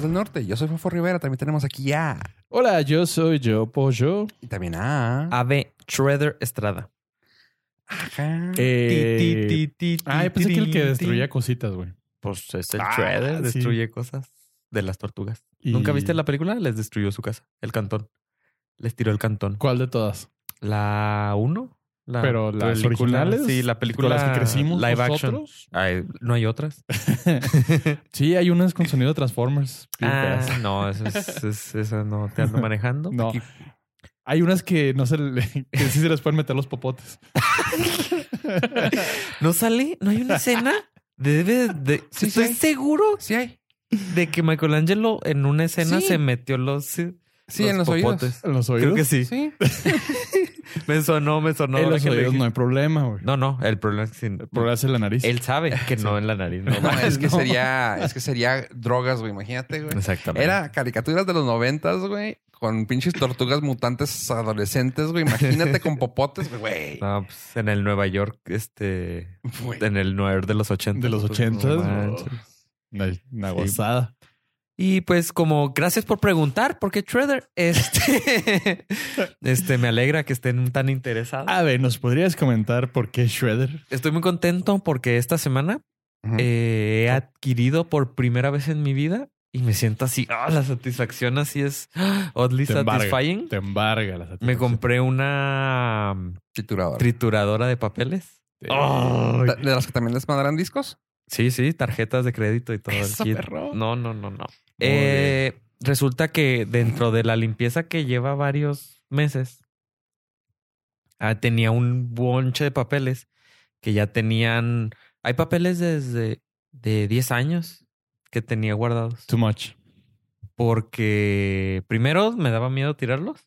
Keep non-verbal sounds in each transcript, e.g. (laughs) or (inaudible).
del Norte. Yo soy Fofo Rivera. También tenemos aquí a. Hola, yo soy yo, Pollo. Y también a. Ave Shredder Estrada. Ajá. Eh, Ti, ti, ti, ti, ah, pensé ti, que el que ti. destruía cositas, güey. Pues es el Ah, Shredder, sí. destruye cosas de las tortugas. Y- ¿Nunca viste la película? Les destruyó su casa, el cantón. Les tiró el cantón. ¿Cuál de todas? La 1, Ah, la Pero las original. originales, Sí, la película ¿Con las que crecimos live action. nosotros? Ay, no hay otras. Sí, hay unas con sonido de Transformers. bien feas. Ah, no, eso es, (laughs) es- eso no te ando manejando. No. Aquí- Hay unas que no se le, (laughs) que sí se les pueden meter los popotes. No sale, no hay una escena. Debe de, Sí, estoy sí. seguro Sí hay. de que Michelangelo en una escena Sí. se metió los, sí, Sí, en los oídos. En los oídos. Creo que sí. (laughs) Sí. Me sonó, me sonó. en ahora los que le oídos dije. no hay problema, güey. no, no, el problema es que El problema es en la nariz. él sabe que no en la nariz. No, (laughs) No, es que No. sería. Es que sería drogas, güey. Imagínate, güey. Exactamente. Era caricaturas de los noventas, güey. Con pinches tortugas mutantes adolescentes, güey. Imagínate con popotes, güey. No, pues, en el Nueva York, este, Güey. en el Nueva York de los 80. de los No ochentas. manches. Una, una Sí. gozada. Y pues como gracias por preguntar, porque Shredder, este, (laughs) este, me alegra que estén tan interesados. A ver, ¿nos podrías comentar por qué Shredder? Estoy muy contento porque esta semana Ujú. eh, he adquirido por primera vez en mi vida y me siento así, ah, la satisfacción así es (gasps) ah, oddly Te embarga. satisfying. Te embarga la Me satisfacción. compré una Triturador. trituradora de papeles. Sí. Ay. ¿De las que también les mandarán (laughs) discos? Sí, sí, tarjetas de crédito y todo el Eso, kit. perro. No, no, no, no. Muy Eh, resulta que dentro de la limpieza que lleva varios meses, ah, tenía un bonche de papeles que ya tenían. Hay papeles desde de 10 años que tenía guardados. Too much. Porque primero me daba miedo tirarlos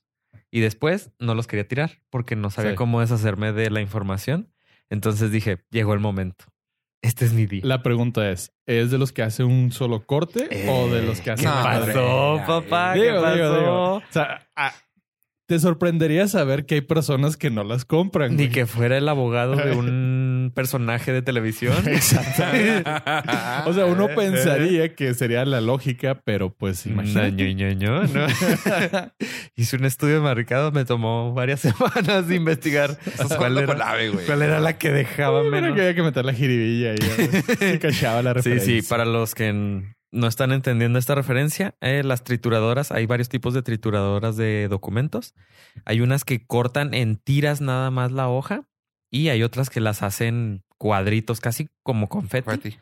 y después no los quería tirar porque no sabía Sí. cómo deshacerme de la información. Entonces dije, llegó el momento. Este es mi día. La pregunta es, ¿es de los que hace un solo corte o de los que hace no, una hombre. madre? Eh, pasó, papá? ¿Qué Digo, pasó? digo, digo. O sea, ah, te sorprendería saber que hay personas que no las compran. Ni güey. (laughs) que fuera el abogado de un personaje de televisión. Exactamente. O sea, Ah, eh, uno pensaría que sería la lógica, pero pues Na, imagínate. ño, ño, ño, Mm, (laughs) ¿no? Hice un estudio de mercado, me tomó varias (laughs) semanas de investigar (laughs) Estás cuál jugando era, con ave, güey. cuál era la que dejaba Pero menos. que había que meter la jiribilla ahí. (laughs) ¿no? Sí cachaba la Sí, referencia. sí, para los que n- no están entendiendo esta referencia, eh, las trituradoras, hay varios tipos de trituradoras de documentos. Hay unas que cortan en tiras nada más la hoja y hay otras que las hacen cuadritos, casi como confeti. Fuerte.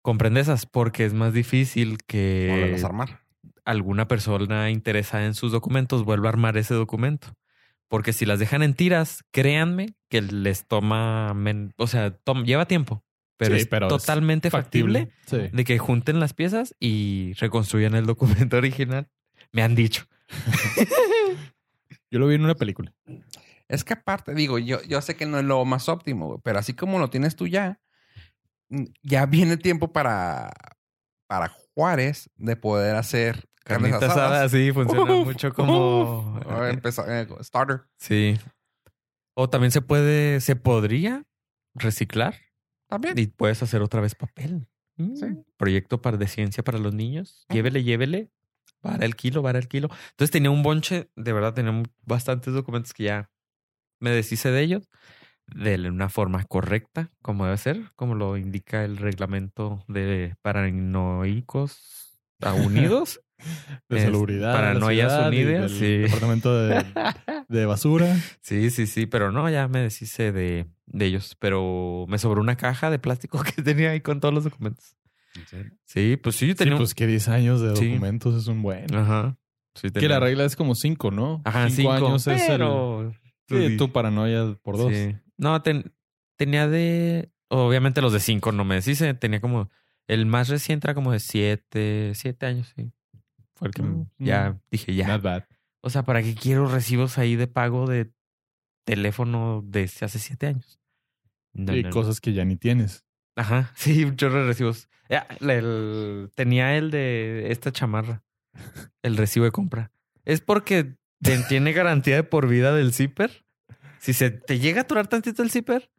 Comprende esas porque es más difícil No que las armar. alguna persona interesada en sus documentos vuelva a armar ese documento. Porque si las dejan en tiras, créanme que les toma, men- o sea, tom- lleva tiempo, pero Sí, es pero es totalmente factible, Sí. de que junten las piezas y reconstruyan el documento (laughs) original. Me han dicho. Yo lo vi en una película. Es que aparte, digo, yo, yo sé que no es lo más óptimo, güey, pero así como lo tienes tú ya, mm, ya (laughs) viene tiempo para, para Juárez de poder hacer carnes Carnita asadas. asada, sí, funciona Uf, mucho como... uf. Ahora empezar, eh, starter. Sí. O también se puede, se podría reciclar También. Y puedes hacer otra vez papel. Sí. Mm, Proyecto para, de ciencia para los niños. Llévele, llévele. Para el kilo, para el kilo. Entonces tenía un bonche, de verdad, tenía un- bastantes documentos que ya me deshice de ellos. De una forma correcta, como debe ser, como lo indica el reglamento de paranoicos (laughs) a unidos. De Es- salubridad. de la paranoias ciudad y unidas, del sí. Departamento (laughs) de, de basura. Sí, sí, sí, pero no, ya me deshice de, de ellos. Pero me sobró una caja de plástico (laughs) que tenía ahí con todos los documentos. Sí, pues sí, yo Sí, tenía un- pues que 10 años de Sí. documentos es un buen. Ajá. Sí, Que la tenía- regla es como 5, ¿no? Ajá, cinco, años es el... pero... Sí, di- tu paranoia por dos. sí. No, ten- tenía de... Obviamente los de cinco no me deshice. Tenía como... El más reciente era como de siete, siete años, sí. Fue el que Mm, ya mm. dije ya. Not bad. O sea, ¿para qué quiero recibos ahí de pago de teléfono desde hace siete años? No, y no, no. cosas que ya ni tienes. Ajá, (laughs) sí, un chorro de recibos. Ya, la- el- tenía el de esta chamarra, el recibo de compra. Es porque te- tiene garantía de por vida del zipper. Si se te llega a aturar tantito el zipper,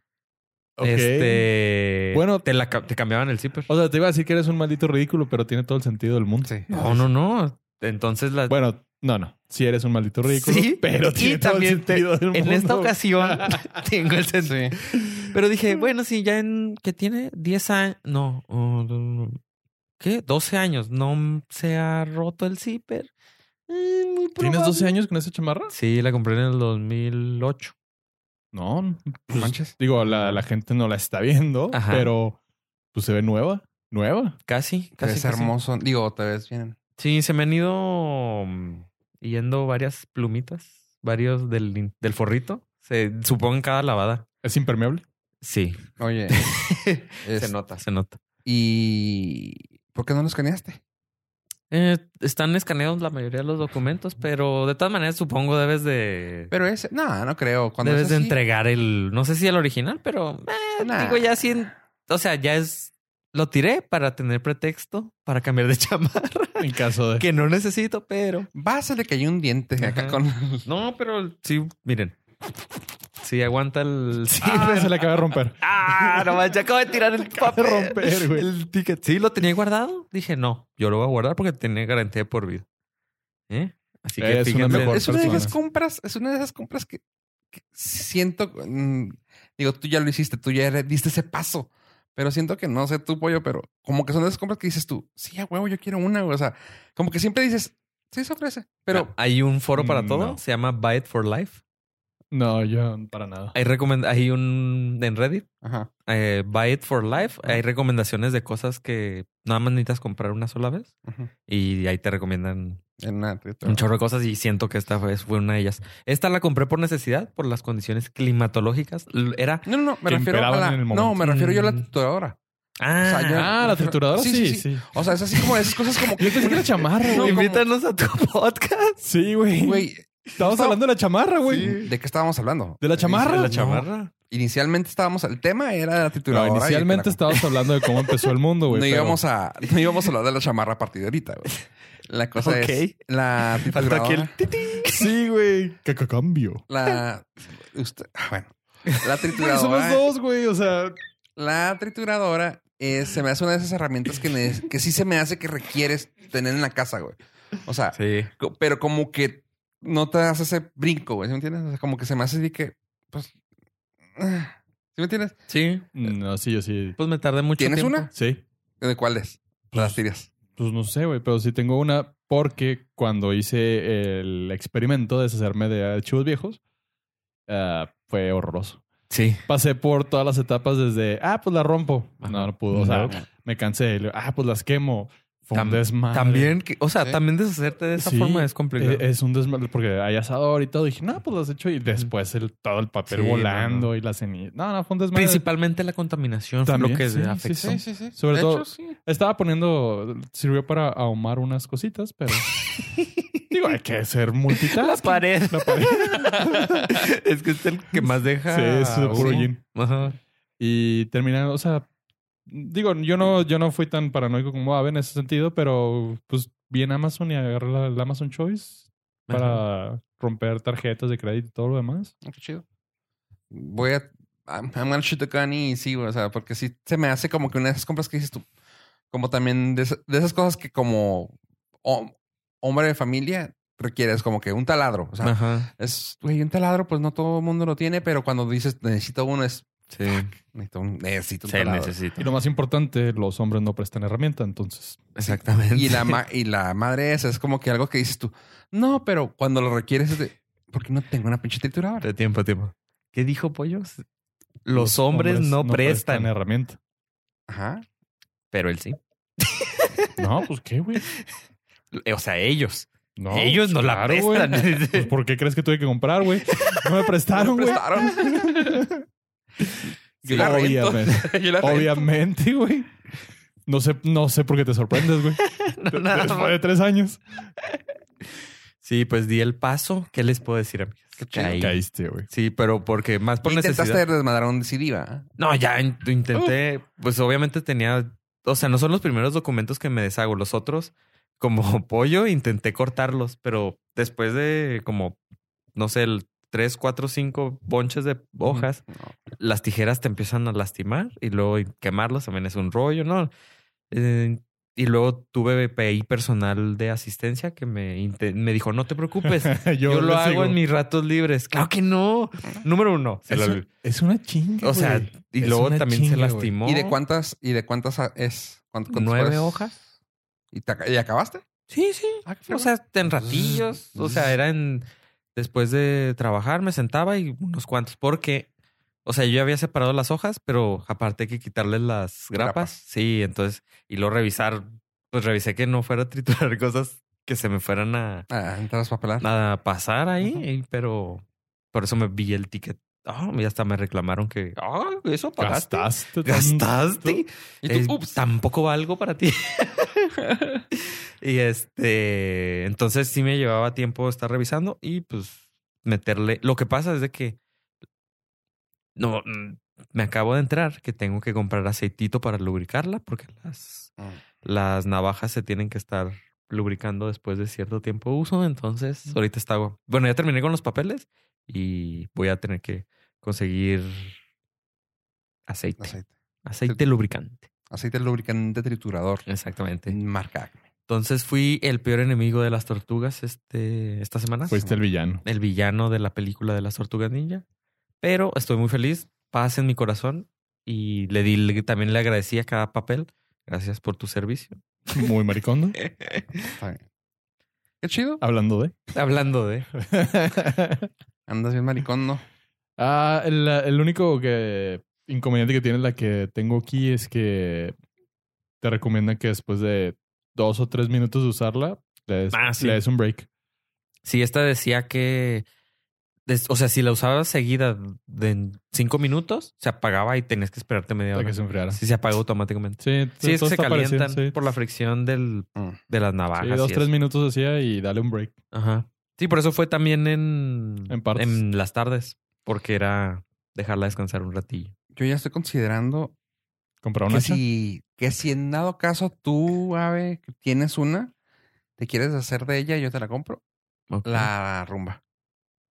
Ok. Este. Bueno. te, la, ca- te cambiaban el zipper. O sea, te iba a decir que eres un maldito ridículo, pero tiene todo el sentido del mundo. No, no, no. Entonces la. Bueno, no, no. Sí eres un maldito ridículo, Sí, pero y tiene todo el también te- sentido del en mundo. esta ocasión tengo el sentido. Sí. Pero dije, bueno, sí, ya en que tiene 10 años, no, uh, ¿qué? 12 años, no se ha roto el zipper. Eh, muy ¿Tienes 12 probable. años con esa chamarra? Sí, la compré en el 2008. No. pues, pues, No manches. Digo, la, la gente no la está viendo, Ajá. pero pues se ve nueva. Nueva. Casi, Te casi. ves casi. hermoso. Digo, te ves bien. Sí, se me han ido mm, yendo varias plumitas, varios del, in- del forrito. Se supongo en cada lavada. Es impermeable. Sí, Oye. (laughs) se es- nota, se nota. ¿Y por qué no lo escaneaste? Eh, están escaneados la mayoría de los documentos, pero de todas maneras supongo debes de... Pero ese, no, no creo. Cuando debes es de así, entregar el... No sé si el original, pero... eh, nah. Digo, ya sí... en- O sea, ya es... Lo tiré para tener pretexto para cambiar de (laughs) chamarra, En caso (laughs) de. que no necesito, pero... Básale que hay un diente acá Ajá. con. No, pero sí, miren. Sí, aguanta el... Sí, Ah, (laughs) pero- se le acaba de romper. Ah, no manches, acabo de tirar el Acaba de papel. romper, güey. El ticket. Sí, lo tenía guardado. Dije, no, yo lo voy a guardar porque tenía garantía de por vida. ¿Eh? Así que Eres una fíjense- mejor es una de esas personas. compras, es una de esas compras que, que siento. mm, digo, tú ya lo hiciste, tú ya eres- diste ese paso. Pero siento que no sé tú, pollo, pero como que son de esas compras que dices tú, sí, a huevo, yo quiero una, güey. O sea, como que siempre dices, sí, se ofrece. Pero Ah, hay un foro para todo, No. se llama Buy It for Life. No, yo para nada. Hay, recomen- hay un en Reddit, Ajá. eh, Buy It for Life. Hay recomendaciones de cosas que nada más necesitas comprar una sola vez ujú, y ahí te recomiendan en nada, te- te- un chorro de cosas y siento que esta vez fue una de ellas. Esta la compré por necesidad, por las condiciones climatológicas. L- Era. No, no, no, me Que refiero a la. imperaban en el No, me momento. refiero yo a la Mm. tutoradora. Ah, sea, (laughs) yo- Ah, la trituradora. Sí, Sí, sí. sí, O sea, es así como esas cosas como que. (laughs) Yo pensé que era chamarra, No, güey. como- invítanos a tu (laughs) podcast. Sí, güey. Güey, Estamos hablando de la chamarra, güey. ¿de qué estábamos hablando? ¿De la chamarra? No, La chamarra. Inicialmente estábamos. El tema era de la No, tituladora. y inicialmente te la- estábamos hablando de cómo empezó el mundo, güey. no, pero- íbamos a, no íbamos a hablar de la chamarra a partir de ahorita, güey. La cosa es. Ok. La Falta aquí el trituradora. titi. Sí, güey. ¿Qué qué cambio? La. Usted, ah, bueno. La Güey, somos trituradora. dos, güey. O sea, La trituradora es- se me hace una de esas herramientas que, ne- que sí se me hace que requieres tener en la casa, güey. O sea, Sí. co- pero como que no te das ese brinco, güey. ¿Sí me entiendes? O sea, como que se me hace así que. Pues. ah, ¿Sí me entiendes? Sí. no, sí, yo sí. Pues me tardé mucho ¿Tienes tiempo. una? Sí. ¿De cuáles? Las tiras. Pues no sé, güey, pero sí tengo una porque cuando hice el experimento de deshacerme de archivos viejos, ah, fue horroroso. Sí. Pasé por todas las etapas desde, ah, pues la rompo. Ajá. No, no pudo. O sea, No. me cansé. Y luego, Ah, pues las quemo. Fue un Tam- desmadre. También, que- o sea, Sí. también deshacerte de esa Sí. forma es complicado. Eh, Es un desmadre porque hay asador y todo. Dije, no, pues las echo y después el, todo el papel Sí, volando no, no. y la ceniza. No, no, fue un desmadre. Principalmente la contaminación fue También, lo que sí, sí, afectó. sí, sí. Sobre de todo- Hecho, sí. Estaba poniendo, sirvió para ahumar unas cositas, pero (laughs) digo, hay que ser multitask. La pared. (laughs) La pared. es que es el que más deja. Sí, es de puro humo. gin. Ajá. Y terminando, o sea, digo, yo no, yo no fui tan paranoico como Ave en ese sentido, pero pues vi en Amazon y agarré la, la Amazon Choice para romper tarjetas de crédito y todo lo demás. Ah, Qué chido. Voy a. I'm, I'm gonna shoot the gun y sí, güey, o sea, porque sí se me hace como que una de esas compras que dices tú. Como también de, esa- de esas cosas que como hom- hombre de familia requieres como que un taladro. O sea, Ajá. es, güey, un taladro, pues no todo el mundo lo tiene, pero cuando dices necesito uno es Sí. necesito un, necesito un Se taladro. necesita. Y lo más importante, los hombres no prestan herramienta, entonces. Exactamente. Y (laughs) la, ma- y la madre esa es como que algo que dices tú, no, pero cuando lo requieres, es de, ¿por qué no tengo una pinche trituradora? De tiempo a tiempo. ¿Qué dijo Pollos? Los, hombres, no, prestan, herramienta. Ajá. pero él sí. No, pues qué, güey. Eh, O sea, ellos. No, (laughs) ellos pues, no la claro, güey. prestan. (laughs) (laughs) Pues, ¿Por qué crees que tuve que comprar, güey? No (laughs) me prestaron, Me güey. prestaron. Yo la rento. (laughs) Obviamente. Yo la rento. (laughs) Obviamente, güey. No sé, no sé por qué te sorprendes, güey. No, nada Después más. de tres años. Sí, pues di el paso. ¿Qué les puedo decir, amigas? Qué chido. Caí. Caíste, güey. (laughs) Sí, pero porque más por Intentaste necesidad. desmadrar un ¿eh? CD, ¿va? No, ya in- intenté. Pues obviamente tenía. O sea, no son los primeros documentos que me deshago. Los otros, como (laughs) pollo, intenté cortarlos, pero después de como, no sé, el 3, 4, 5 bonches de hojas, Mm, No. las tijeras te empiezan a lastimar y luego quemarlas también es un rollo, ¿no? Eh, y luego tuve PI personal de asistencia que me, inte- me dijo, no te preocupes, (laughs) yo, le lo hago sigo. en mis ratos libres. Claro que no. Número uno. se Es, lo- un- es una chinga. o sea, güey. y Es luego una también se chinga, güey. lastimó. ¿Y de cuántas, y de cuántas a- es? ¿Cuánt- cuántas ¿Nueve horas? hojas? Ah, ¿Y, te ac- y acabaste? Sí, sí. O sea, en ratillos. O sea, era en. Después de trabajar, me sentaba y unos cuantos. Porque, o sea, yo ya había separado las hojas, pero aparte hay que quitarles las grapas. Grapas. Sí, entonces. Y luego revisar. Pues revisé que no fuera a triturar (laughs) cosas que se me fueran a, Ah, entras para pelar. a pasar ahí. Ajá. y- Pero por eso me vi el ticket. Ah, y hasta me reclamaron que. Ah, eso pagaste. gastaste. tanto. Gastaste. Y Eh, tú, ups. Tampoco valgo para ti. (laughs) y este, entonces sí me llevaba tiempo estar revisando y pues meterle. Lo que pasa es de que no mm, me acabo de entrar que tengo que comprar aceitito para lubricarla porque las, Mm. las navajas se tienen que estar lubricando después de cierto tiempo de uso. Mm. Entonces ahorita está. Bueno, ya terminé con los papeles y voy a tener que conseguir aceite. Aceite. Aceite lubricante. Aceite lubricante triturador. Exactamente. Marca Acme. Entonces fui el peor enemigo de las tortugas este, esta semana. Fuiste el villano. El villano de la película de las tortugas ninja. Pero estoy muy feliz. Paz en mi corazón. Y le di, le- también le agradecí a cada papel. Gracias por tu servicio. (laughs) Muy maricondo. Está bien. Qué chido. Hablando de. Hablando de... (laughs) Andas bien maricón, ¿no? Ah, el, el único que inconveniente que tiene la que tengo aquí es que te recomiendan que después de dos o tres minutos de usarla, le des, Ah, sí. le des un break. Sí, esta decía que... des- O sea, si la usabas seguida de en cinco minutos, se apagaba y tenías que esperarte media Para hora. que se enfriara. Sí, Sí, se apagó automáticamente. Sí, es que todo se está parecido, calientan sí. por Ah, la fricción del, Mm. de las Sí, navajas. dos, y tres eso. minutos hacía y dale un break. Ajá. Sí, por eso fue también en, En partes. en las tardes, porque era dejarla descansar un ratillo. Yo ya estoy considerando Comprar una que (laughs) hacha. si, que si en dado caso tú, Ave, que tienes una, te quieres hacer de ella, yo te la compro. Ok. La rumba.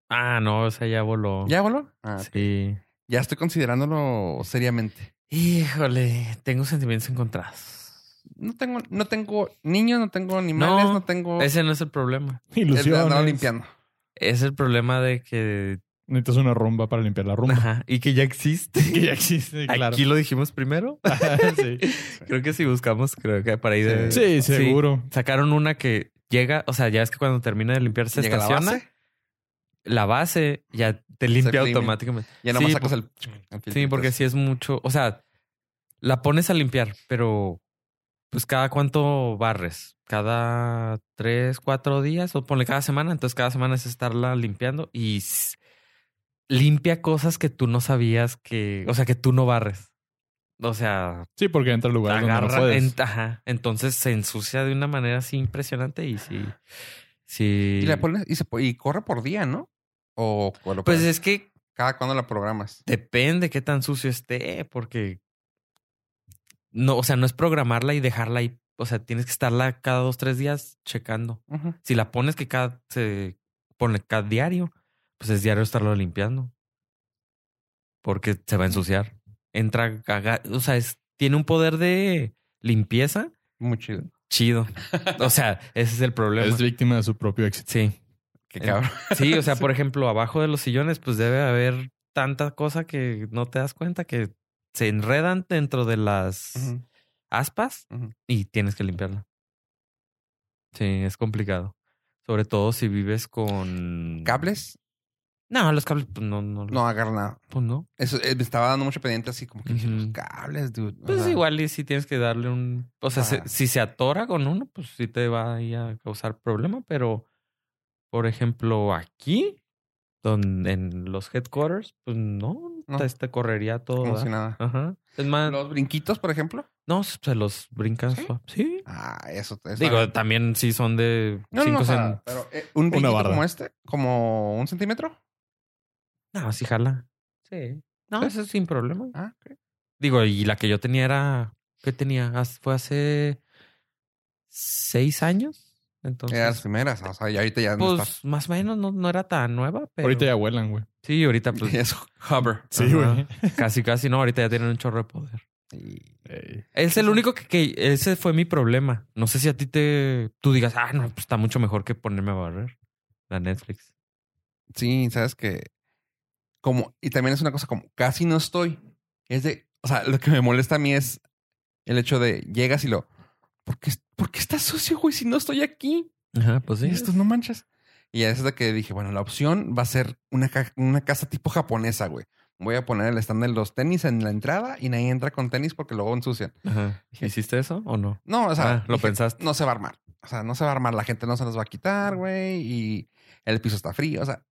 Ah, no, esa ya voló. ¿Ya, voló? Ah, Sí. Ya estoy considerándolo seriamente. Híjole, tengo sentimientos encontrados. No tengo, no tengo niños, no tengo animales, no, No, tengo... Oh. Ese no es el problema. He andado Ilusiones. limpiando. Es el problema de que. Necesitas una rumba para limpiar la (laughs) rumba. (laughs) Ajá. Y que ya existe. que ya (laughs) existe, claro. Aquí lo dijimos primero. (laughs) (laughs) sí. Creo que si buscamos, creo que para ahí de. Sí, seguro. Sacaron una que llega, o sea, ya es que cuando termina de limpiarse Llega la estaciona. base, la base ya te limpia limpia. automáticamente. ya nomás Sí, sacas por- el... el Sí, filtrito porque ese. si es mucho. O sea, la pones a limpiar, pero pues cada cuánto barres, cada tres, cuatro días, o ponle cada semana. Entonces cada semana es estarla limpiando y s- limpia cosas que tú no sabías que, o sea, que tú no barres. O sea, Sí, porque entra al lugar donde no agarra, puedes. en- ajá. entonces se ensucia de una manera así impresionante y sí, sí. Y, la pones- y, se po- y corre por día, ¿no? O o lo pues pones- es que cada cuando la programas. Depende qué tan sucio esté, porque no, o sea, no es programarla y dejarla ahí. O sea, tienes que estarla cada dos, tres días checando. Ujú. Si la pones que cada se pone cada diario, pues es diario estarlo limpiando. Porque se va a ensuciar. Entra, caga- o sea, es- tiene un poder de limpieza Muy chido. chido. O sea, ese es el problema. Es víctima de su propio éxito. Sí. Qué Eh, cabrón. Sí, o (laughs) sea, por ejemplo, abajo de los sillones, pues debe haber tanta cosa que no te das cuenta que se enredan dentro de las Ujú, aspas ujú. y tienes que limpiarla. Sí, es complicado. Sobre todo si vives con ¿Cables? No, los cables, pues no, no, No agarra nada. pues no. Eso, eh, me estaba dando mucho pendiente así como que dije, Ujú. los cables, dude. O Pues sea, igual y si tienes que darle un, o sea, se- Ah. si se atora con uno, pues sí te va ahí a causar problema, pero por ejemplo aquí, donde en los headquarters, pues no, No. Te, te correría todo. Como ¿verdad? si nada. Ajá. Es más, Los brinquitos, por ejemplo. no, se los brincan. ¿Sí? suave. Sí. Ah, eso. eso- Digo, también sí son de no, no, no, cinco o sea, cen- pero eh, un brinquito barra. como este, como un centímetro. No, sí jala. Sí. No, ¿Sí? eso es sin problema. Ah, ok. Digo, y la que yo tenía era. ¿Qué tenía? Haz- Fue hace seis años. Entonces, Eran las primeras. O sea, y ahorita ya no está. pues más o menos no, no era tan nueva, pero. Ahorita ya vuelan, güey. Sí, (laughs) ahorita pues. Y es Hover. Sí, güey. Casi, casi no. Ahorita ya tienen un chorro de poder. Y- Ey. Es el único que, que ese fue mi problema. No sé si a ti te tú digas, ah, no, pues está mucho mejor que ponerme a barrer la Netflix. Sí, sabes que. Como, y también es una cosa como casi no estoy. Es de. O sea, lo que me molesta a mí es el hecho de llegas y lo. ¿Por qué, por qué está sucio, güey? Si no estoy aquí. Ajá, pues sí. Esto no manchas. Y ya es de que dije, bueno, la opción va a ser una, ca- una casa tipo japonesa, güey. Voy a poner el stand de los tenis en la entrada y nadie entra con tenis porque luego ensucian. Ajá. ¿Hiciste eso o no? No, o sea, Ah, lo dije, pensaste. no se va a armar. O sea, no se va a armar. La gente no se nos va a quitar, güey. Y el piso está frío. O sea,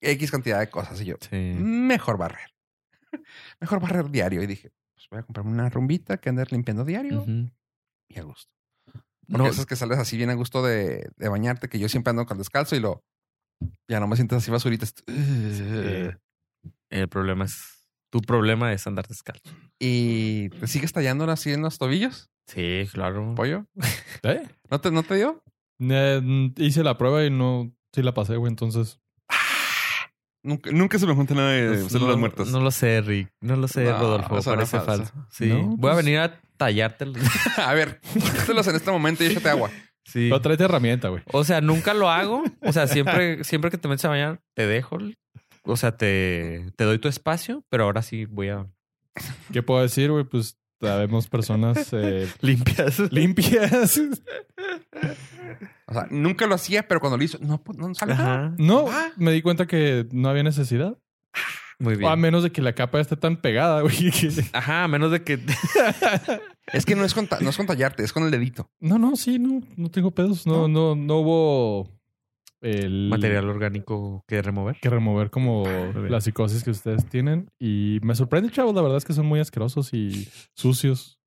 X cantidad de cosas. Y yo, Sí. mejor barrer. (laughs) Mejor barrer diario. Y dije, pues voy a comprarme una rumbita que andar limpiando diario Ujú. y a gusto. Porque No, esas que sales así bien a gusto de, de bañarte, que yo siempre ando con descalzo y lo. Ya no me sientes así basurita. es- el problema es tu problema es andar descalzo. (laughs) Y te sigues tallando así en los tobillos, Sí, claro. pollo. ¿Eh? ¿No te, no te dio? Eh, mm, hice la prueba y no... Sí la pasé, güey. Entonces... Ah, Nunca, nunca se me junta nada de Pues, células no, muertas. No lo sé, Rick. No lo sé, No, Rodolfo. eso era parece falso. falso. Sí. No, Voy a pues- venir a tallarte. el- (laughs) a ver, quítalos en este momento y échate agua. (laughs) sí. Pero tráete herramienta, güey. O sea, nunca lo hago. O (laughs) sea, siempre, siempre que te metes a bañar, te dejo. O sea, te, te doy tu espacio, pero ahora sí voy a ¿Qué puedo decir, güey? Pues sabemos (laughs) personas eh, limpias. limpias. O sea, nunca lo hacía, pero cuando lo hizo, no, pues, no salió. nada. Ajá. No, Ah. me di cuenta que no había necesidad. Muy O a bien. menos de que la capa esté tan pegada, güey. (laughs) que- Ajá, a menos (laughs) de que (laughs) Es que no es, con, ta- no es con tallarte, es con el (laughs) dedito. No, no, sí, no, no tengo pedos. No, no, no, hubo el material Ah, orgánico que remover. que remover como la psicosis que ustedes tienen. Y me sorprende, chavos. La verdad es que son muy asquerosos y sucios.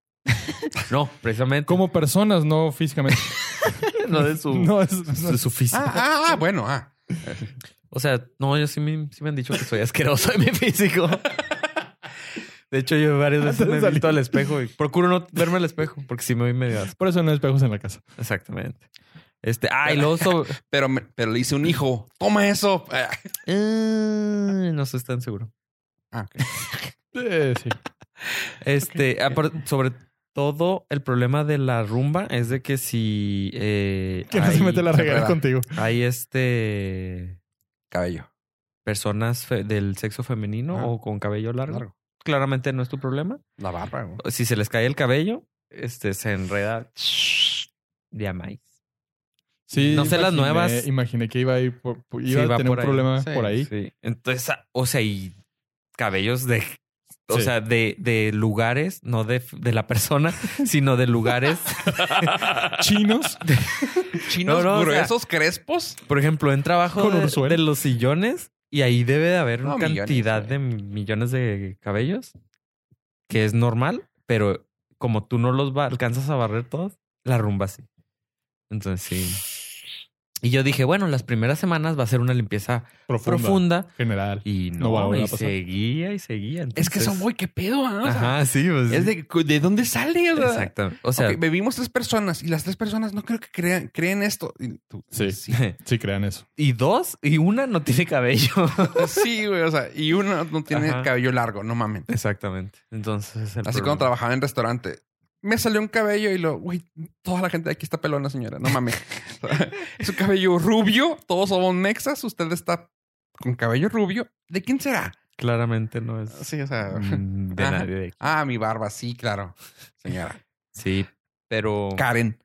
No, precisamente. Como personas, no físicamente. (laughs) No de (laughs) su, No, es, no de es- su físico. Ah, ah, ah, bueno, ah. O sea, no, yo sí me, sí me han dicho que soy asqueroso de mi (laughs) físico. De hecho, yo varias veces Antes de me he salir. visto al espejo y procuro no verme al espejo porque si me voy medio asco. Por eso no hay espejos en la casa. Exactamente. Este, ah, (laughs) y luego sobre- Pero, me- pero le hice un hijo. Toma eso. Ah, Eh, no estoy tan seguro. Ah, ok. Eh, sí. Este, apar- sobre todo el problema de la rumba es de que si eh, (laughs) Que no se mete la se regadera prueba. contigo. hay este Cabello. personas fe- del sexo femenino Ah. o con cabello largo, Largo. claramente no es tu problema. La barba, güey. Si se les cae el cabello, este se enreda de a maíz. Sí, No sé las nuevas. Imaginé que iba a ir por, por- iba Sí, a va tener un por ahí. problema Sí, por ahí. Sí. Entonces, ah, o sea, y cabellos de. O Sí. sea, de, de lugares, no de, de la persona, sino de lugares. Chinos. (laughs) Chinos No, no, o sea- gruesos, crespos. Por ejemplo, en trabajo Con de, Ursuel. de los sillones y ahí debe de haber No, una millones, cantidad güey. de millones de cabellos que es normal, pero como tú no los va- alcanzas a barrer todos, la rumba sí. Entonces sí. Y yo dije, bueno, las primeras semanas va a ser una limpieza Profunda. profunda General. y no, No va a volver y a pasar. seguía y seguía. Es que son entonces- muy qué pedo, ah? O sea, Ajá, sí, pues, Es de, ¿de dónde sale? O sea, Exacto. O sea, ok, bebimos tres personas y las tres personas no creo que crean, creen esto. Y tú, Sí. sí. (laughs) Sí, crean eso. (laughs) y dos y una no tiene cabello. (laughs) Sí, güey. O sea, y uno no tiene Ajá. cabello largo, no mamen. Exactamente. Entonces, el Así problema. cuando trabajaba en restaurante. Me salió un cabello y lo, güey, toda la gente de aquí está pelona, señora. No mames. (laughs) O sea, Su cabello rubio, todos somos mexas, usted está con cabello rubio. ¿De quién será? claramente no es Sí, o sea. mm, (laughs) de Ah, Ajá. nadie de aquí. Ah, mi barba, sí, claro. Señora. Sí, pero Karen.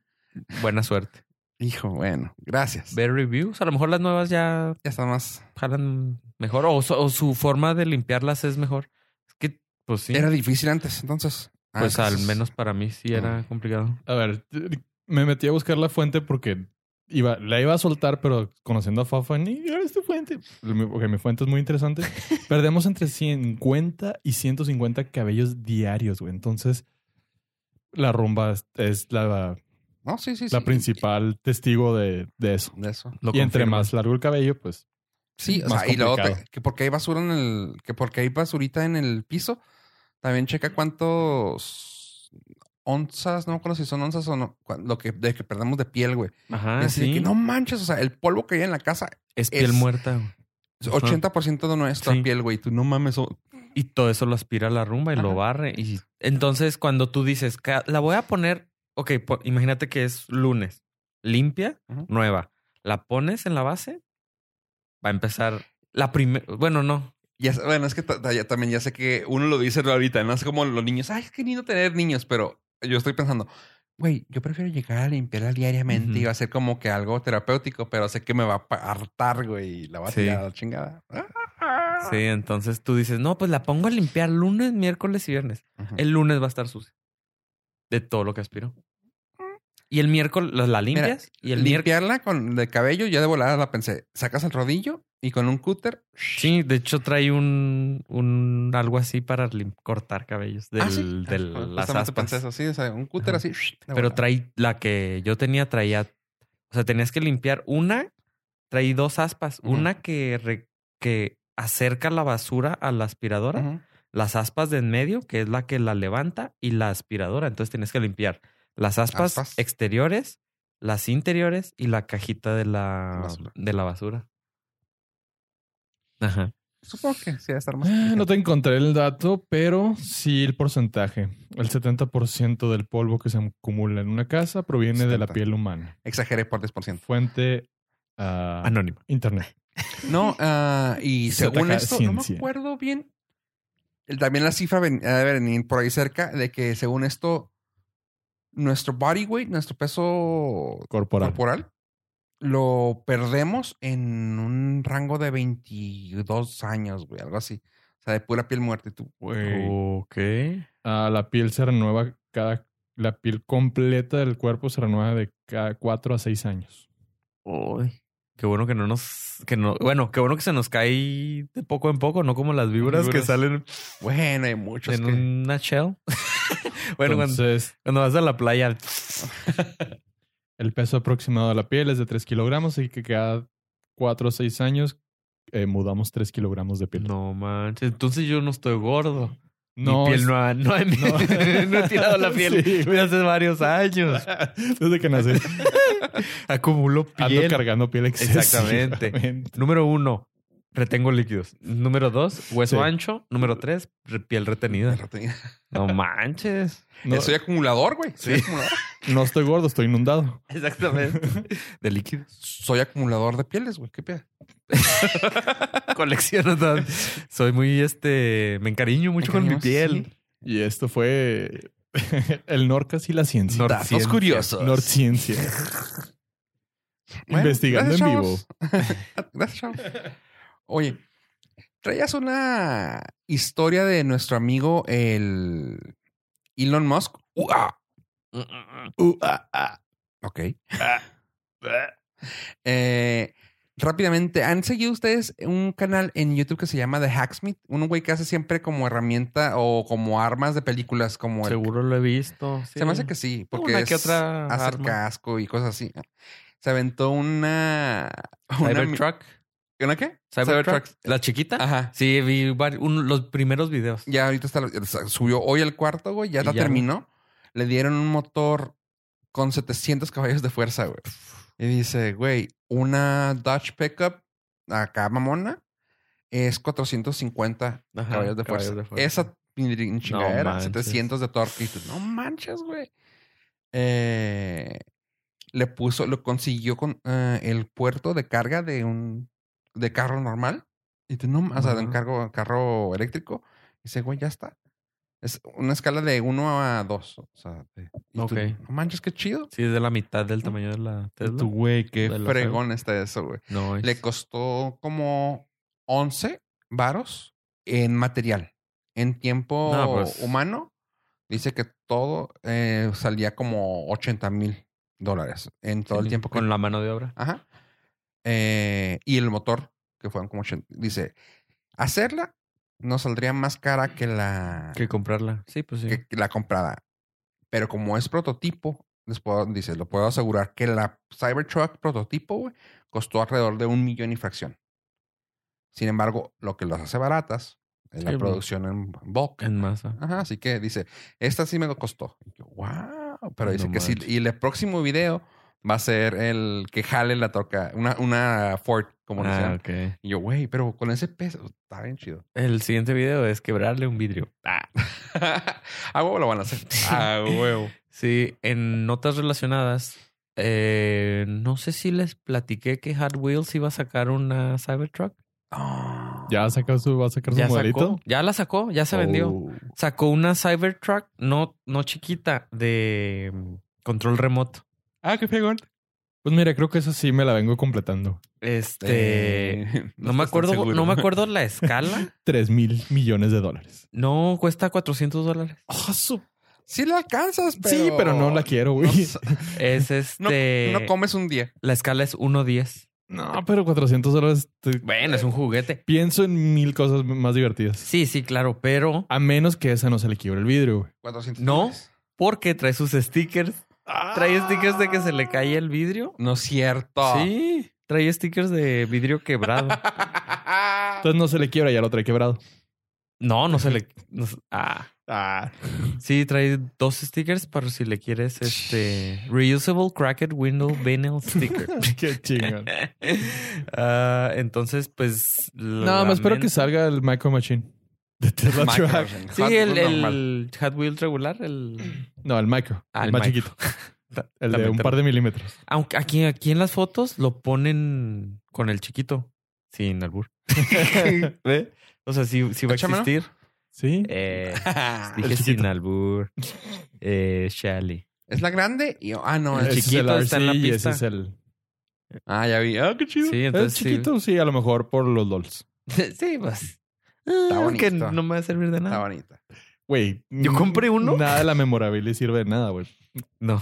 buena suerte. Hijo, bueno, gracias. Ver reviews, a lo mejor las nuevas ya Ya está más. jalan mejor o, su- o su forma de limpiarlas es mejor. Es que, pues sí, Era difícil antes, entonces. Ah, pues entonces- al menos para mí sí era complicado. A ver, me metí a buscar la fuente porque iba, la iba a soltar, pero conociendo a Fafa, ni ahora es tu fuente. Pues, Mi- Ok, mi fuente es muy (laughs) interesante. Perdemos entre 50 y 150 cabellos diarios, güey. Entonces, la rumba es, es la, No, sí, sí, sí. la principal testigo de, de eso. De eso. Lo y entre confirmo. más largo el cabello, pues Sí, o Más sea, y luego te- complicado. que porque hay basura en el, que porque hay basurita en el piso, también checa cuántos onzas, no me acuerdo si son onzas o no, cua- lo que, de que perdemos de piel, güey. Y Ajá, así de Ah, sí. que no manches, o sea, el polvo que hay en la casa es piel es- muerta. güey. es 80% de nuestra Sí. piel, güey. Tú no mames. o- Y todo eso lo aspira a la rumba y lo Ajá. barre. Y entonces, cuando tú dices, "Ca- la voy a poner, ok, po- imagínate que es lunes, limpia, Ajá. nueva. La pones en la base, va a empezar la primera. Bueno, no. Ya, sé- bueno, es que ta- ta- ya también ya sé que uno lo dice ahorita, no es como los niños, ay, es que lindo tener niños, pero yo estoy pensando, güey, yo prefiero llegar a limpiarla diariamente y Ujú. va a ser como que algo terapéutico, pero sé que me va a pa- hartar, güey, y la va a Sí. tirar a la chingada. Sí, entonces tú dices, no, pues la pongo a limpiar lunes, miércoles y viernes. Ujú. El lunes va a estar sucia de todo lo que aspiró. Y el miércoles la la Mira, limpias y el miércoles. limpiarla con de cabello, ya de volada la pensé, sacas el rodillo y con un cúter, Sí, de hecho trae un, un algo así para lim- cortar cabellos del, Ah, sí. de las justamente pensé eso, aspas. sí, o sea, un cúter Ajá. así. de Pero volada. trae la que yo tenía, traía. O sea, tenías que limpiar una, traí dos aspas. Ujú. Una que, re- que acerca la basura a la aspiradora, Ujú. las aspas de en medio, que es la que la levanta, y la aspiradora. Entonces tenías que limpiar las aspas, Aspas. exteriores, las interiores y la cajita de la Basura. de la basura. Ajá. Supongo que sí, va a estar más. Ah, No inteligente. te encontré el dato, pero sí el porcentaje. El 70% del polvo que se acumula en una casa proviene de la 70. piel humana. Exageré por 10%. Fuente ah, Anónimo. internet. No, ah, y Se según ataca esto, no ciencia. me acuerdo bien. el- También la cifra ven- ha de venir por ahí cerca de que según esto, nuestro body weight, nuestro peso Corporal. corporal, lo perdemos en un rango de 22 años, güey, algo así. O sea, de pura piel muerta. Y tú, güey. Ok. Ah, la piel se renueva cada. La piel completa del cuerpo se renueva de cada 4 a 6 años. Uy. Qué bueno que no nos. Que no, bueno, qué bueno que se nos cae de poco en poco, no como las víboras, que Víboras. salen Bueno, hay muchos en que- una shell. (laughs) bueno, cuando- Entonces, cuando, vas a la playa. Ah, el peso aproximado de la piel es de 3 kilogramos y que cada 4 o 6 años eh, mudamos 3 kilogramos de piel. No manches. Entonces yo no estoy gordo. No, Mi piel es- no ha, (laughs) no, ha- no he tirado la piel Sí. desde hace varios años. (laughs) Desde que nací. (laughs) Acumulo Ando piel. cargando piel Exactamente. excesivamente. Número uno, retengo líquidos. Número dos, hueso Sí. ancho. Número tres, re- piel retenida. No manches. (laughs) No, Soy acumulador, güey. Soy Sí. acumulador. (laughs) no estoy gordo, estoy inundado. (laughs) Exactamente. (laughs) De líquidos. Soy acumulador de pieles, güey. ¿Qué pedo? Colecciono. tan- Soy muy este. Me encariño mucho con mi Encariño, piel. Y esto fue (laughs) el Norcas y la ciencia. Nor- Datos Ciencia. curiosos. (laughs) Norciencia. Bueno, Investigando en gracias, vivo. chavos. (laughs) Gracias, chavos. Oye, traías una historia de nuestro amigo el Elon Musk. Uh, ah. Uh, ah, ah. Ok. (laughs) Eh, rápidamente, ¿han seguido ustedes un canal en YouTube que se llama The Hacksmith? Un güey que hace siempre como herramienta o como armas de películas, como el Seguro lo he visto. sí. se me hace que sí, porque Una que es otra hacer arma. casco y cosas así. Se aventó una... (laughs) una Cybertruck. ¿Una qué? Cybertruck. Cybertruck. La chiquita. Ajá. Sí, vi vari- un- los primeros videos. Ya ahorita está, o sea, subió hoy al cuarto, güey. Ya Y la ya, terminó. Le dieron un motor con 700 caballos de fuerza, güey. Y dice, güey, una Dodge Pickup acá mamona es 450 Ajá, caballos, de caballos fuerza. de fuerza. Esa pinrin chingadera, manches. 700 de torque. Y tú, no manches, güey. Eh, le puso, lo consiguió con eh, el puerto de carga de un de carro normal. Y tú, no, o sea, de un Ajá. cargo- carro eléctrico. Y dice, güey, ya está. Es una escala de 1 a 2. O sea, de- y tú, Ok. no manches, qué chido. Sí, es de la mitad del tamaño de la Tesla. Tu güey, De qué la Cyber- Fregón está eso, güey. (laughs) No, es- Le costó como 11 varos en material. En tiempo No, pues. humano, dice que todo eh, salía como 80 mil dólares en todo el Sí, tiempo. que- Con la mano de obra. Ajá. Eh, y el motor, que fueron como 80. Dice, hacerla nos saldría más cara que la, Que comprarla. Sí, pues sí. que la comprada. Pero como es prototipo, les puedo, dice, lo puedo asegurar que la Cybertruck prototipo güey, costó alrededor de un millón y fracción. Sin embargo, lo que las hace baratas en la Sí, bro. producción en bulk. En masa. Ajá, así que dice, esta sí me lo costó. Y yo, wow. Pero dice No que sí. manches. Y el próximo video va a ser el que jale la troca, una, una Ford, como le Ah, decían. ok. Y yo, güey, pero con ese peso está bien chido. El siguiente video es quebrarle un vidrio. Ah. (laughs) a huevo lo van a (laughs) hacer. A huevo. Sí, en notas relacionadas, eh, no sé si les platiqué que Hot Wheels iba a sacar una Cybertruck. Ah. Ya sacó su, va a sacar su Ya modelito. sacó, ya la sacó, ya se vendió. Oh. Sacó una Cybertruck, no, no chiquita, de mm, control remoto. Ah, qué fregón. Pues mira, creo que eso sí me la vengo completando. Este, Eh, (laughs) no me estás tan acuerdo, seguro. no me acuerdo (laughs) la escala. Tres mil millones de dólares. No, cuesta 400 dólares. (laughs) Sí la alcanzas, pero... Sí, pero no (laughs) la quiero, güey. Es (laughs) este, No comes un día. la escala es 1.10. (laughs) No, pero 400 dólares. te- Bueno, es un juguete. Pienso en mil cosas más divertidas. Sí, sí, claro, pero A menos que esa no se le quiebre el vidrio, güey. 400 No. dólares. porque trae sus stickers. Trae stickers de que se le cae el vidrio. No es cierto. (laughs) Sí, trae stickers de vidrio quebrado. Entonces no se le quiebra, ya lo trae quebrado. (laughs) No, no se le. no se- ah. Sí, trae dos stickers para si le quieres este. Reusable Cracked Window (laughs) Vinyl Sticker. (laughs) Qué chingón. Ah, entonces, pues. No, me espero que salga el Micro (laughs) Machine. De Tesla Micro, Truck. Hot Sí, Wheels el, (laughs) normal. el Hot Wheel regular, el. No, el Micro. Ah, el, el más micro. (laughs) chiquito. El de También un te- par de milímetros. Aunque aquí, aquí en las fotos lo ponen con el chiquito. Sin albur. (laughs) (laughs) ¿Ve? O sea, sí, sí va a Échamelo. existir. Sí. Eh, (laughs) El dije sin chiquito. albur. Eh, (laughs) Shally. ¿Es la grande? Y, ah, no. El es- Ese es chiquito está en la RC y ese pista. es el, Ah, ya vi. Ah, qué chido. Sí, el entonces. sí. chiquito, sí. a lo mejor por los LOLs. Sí, pues. Está bonito. Que no me va a servir de Está nada. bonita. Güey. Yo compré uno. Nada de la memorabilia sirve de nada, güey. No,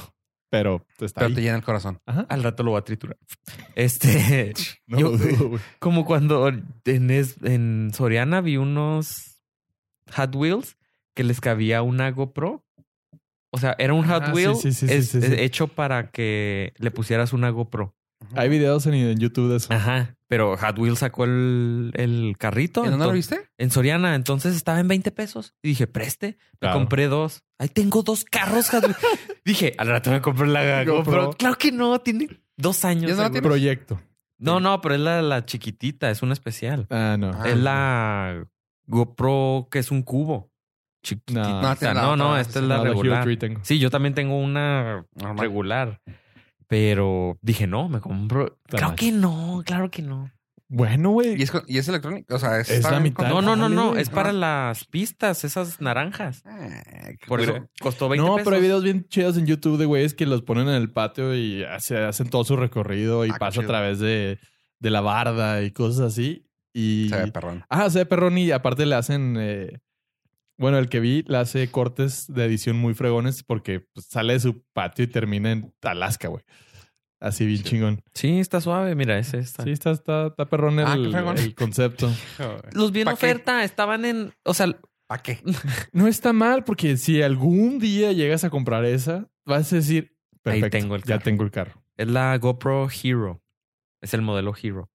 Pero está Pero ahí. te llena el corazón. Ajá. al rato lo voy a triturar. (laughs) (laughs) Este, No Yo- lo dudo, güey. como cuando en, es- en Soriana vi unos Hot Wheels que les cabía una GoPro. O sea, era un Hot Ah, sí, Wheel sí, sí, sí, es- sí, sí. es hecho para que le pusieras una GoPro. Hay videos en, en YouTube de eso. Ajá. Pero Hot Wheels sacó el, el carrito. ¿En dónde lo entonces- viste? en Soriana, entonces estaba en 20 pesos. Y dije, preste, me Claro. compré dos. Ahí tengo dos carros. Hot Wheels. (laughs) dije, al rato me compré la GoPro. GoPro. Claro que no, tiene dos años. Ya no la seguro. tienes. Proyecto. No, no, pero es la, la chiquitita, es una especial. Ah, no. Ah, es la GoPro que es un cubo. No. Chiquitita. No, tiene la ah, No, no, otra, no, esta sí, es No, la la Hero regular. Tree tengo. Sí, yo también tengo una Normal. regular. Pero dije, no, me compro. Está Claro mal. que no, claro que no. Bueno, güey. ¿Y es, con- y es electrónico? O sea, es... Es está la bien mitad. con- No, no, no, Dale, no. güey. Es para las pistas, esas naranjas. Ah, qué Por cura. eso costó 20 No, pesos. pero hay videos bien chidos en YouTube de güeyes que los ponen en el patio y hace- hacen todo su recorrido y Ah, qué pasa a chido. través de, de la barda y cosas así. Y... Se ve perrón. Ah, se ve perrón y aparte le hacen... eh, Bueno, el que vi le hace cortes de edición muy fregones porque pues, sale de su patio y termina en Alaska, güey. Así bien chingón. Sí, está suave. Mira, es esta. Sí, está, está, está perrón el, Ah, qué fregón. el concepto. Los vi en ¿Pa' qué? oferta. Estaban en... O sea, ¿Para qué? No está mal porque si algún día llegas a comprar esa, vas a decir, Ahí perfecto, tengo el ya carro". tengo el carro. es la GoPro Hero. Es el modelo Hero.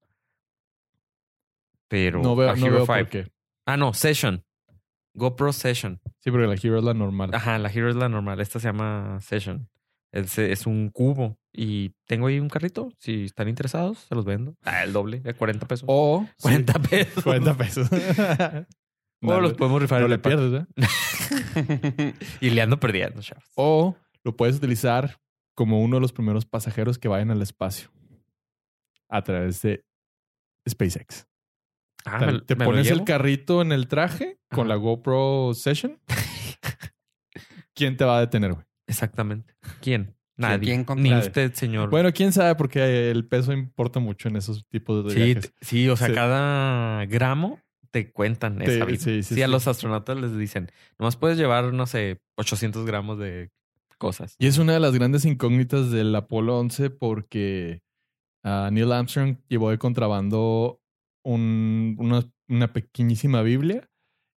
Pero... no veo, la no Hero veo 5. por qué. Ah, no. Session. GoPro Session. Sí, porque la Hero es la normal. Ajá, la Hero es la normal. Esta se llama Session. Es, es un cubo. Y tengo ahí un carrito. Si están interesados, se los vendo. Ah, el doble. De 40 pesos. (laughs) O... 40 Oh, sí, pesos. 40 pesos. (laughs) O no, los le- podemos rifar. no en le el par- pierdes, ¿eh? Y le ando perdiendo, chavos. O lo puedes utilizar como uno de los primeros pasajeros que vayan al espacio a través de SpaceX. Ah, Tal- me- te me lo pones el llevo. carrito en el traje con la Ajá. GoPro (laughs) Session. ¿Quién te va a detener, güey? Exactamente. ¿Quién? Nadie. ¿Quién contra Ni nadie? usted, señor. Bueno, quién sabe, porque el peso importa mucho en esos tipos de sí, viajes. t- sí, o sea, Sí. cada gramo te cuentan Te- esa vida. Sí, sí, sí, a sí. los astronautas les dicen, nomás puedes llevar, no sé, 800 gramos de cosas. Y es una de las grandes incógnitas del Apolo 11 porque ah, Neil Armstrong llevó de contrabando un- una, una pequeñísima Biblia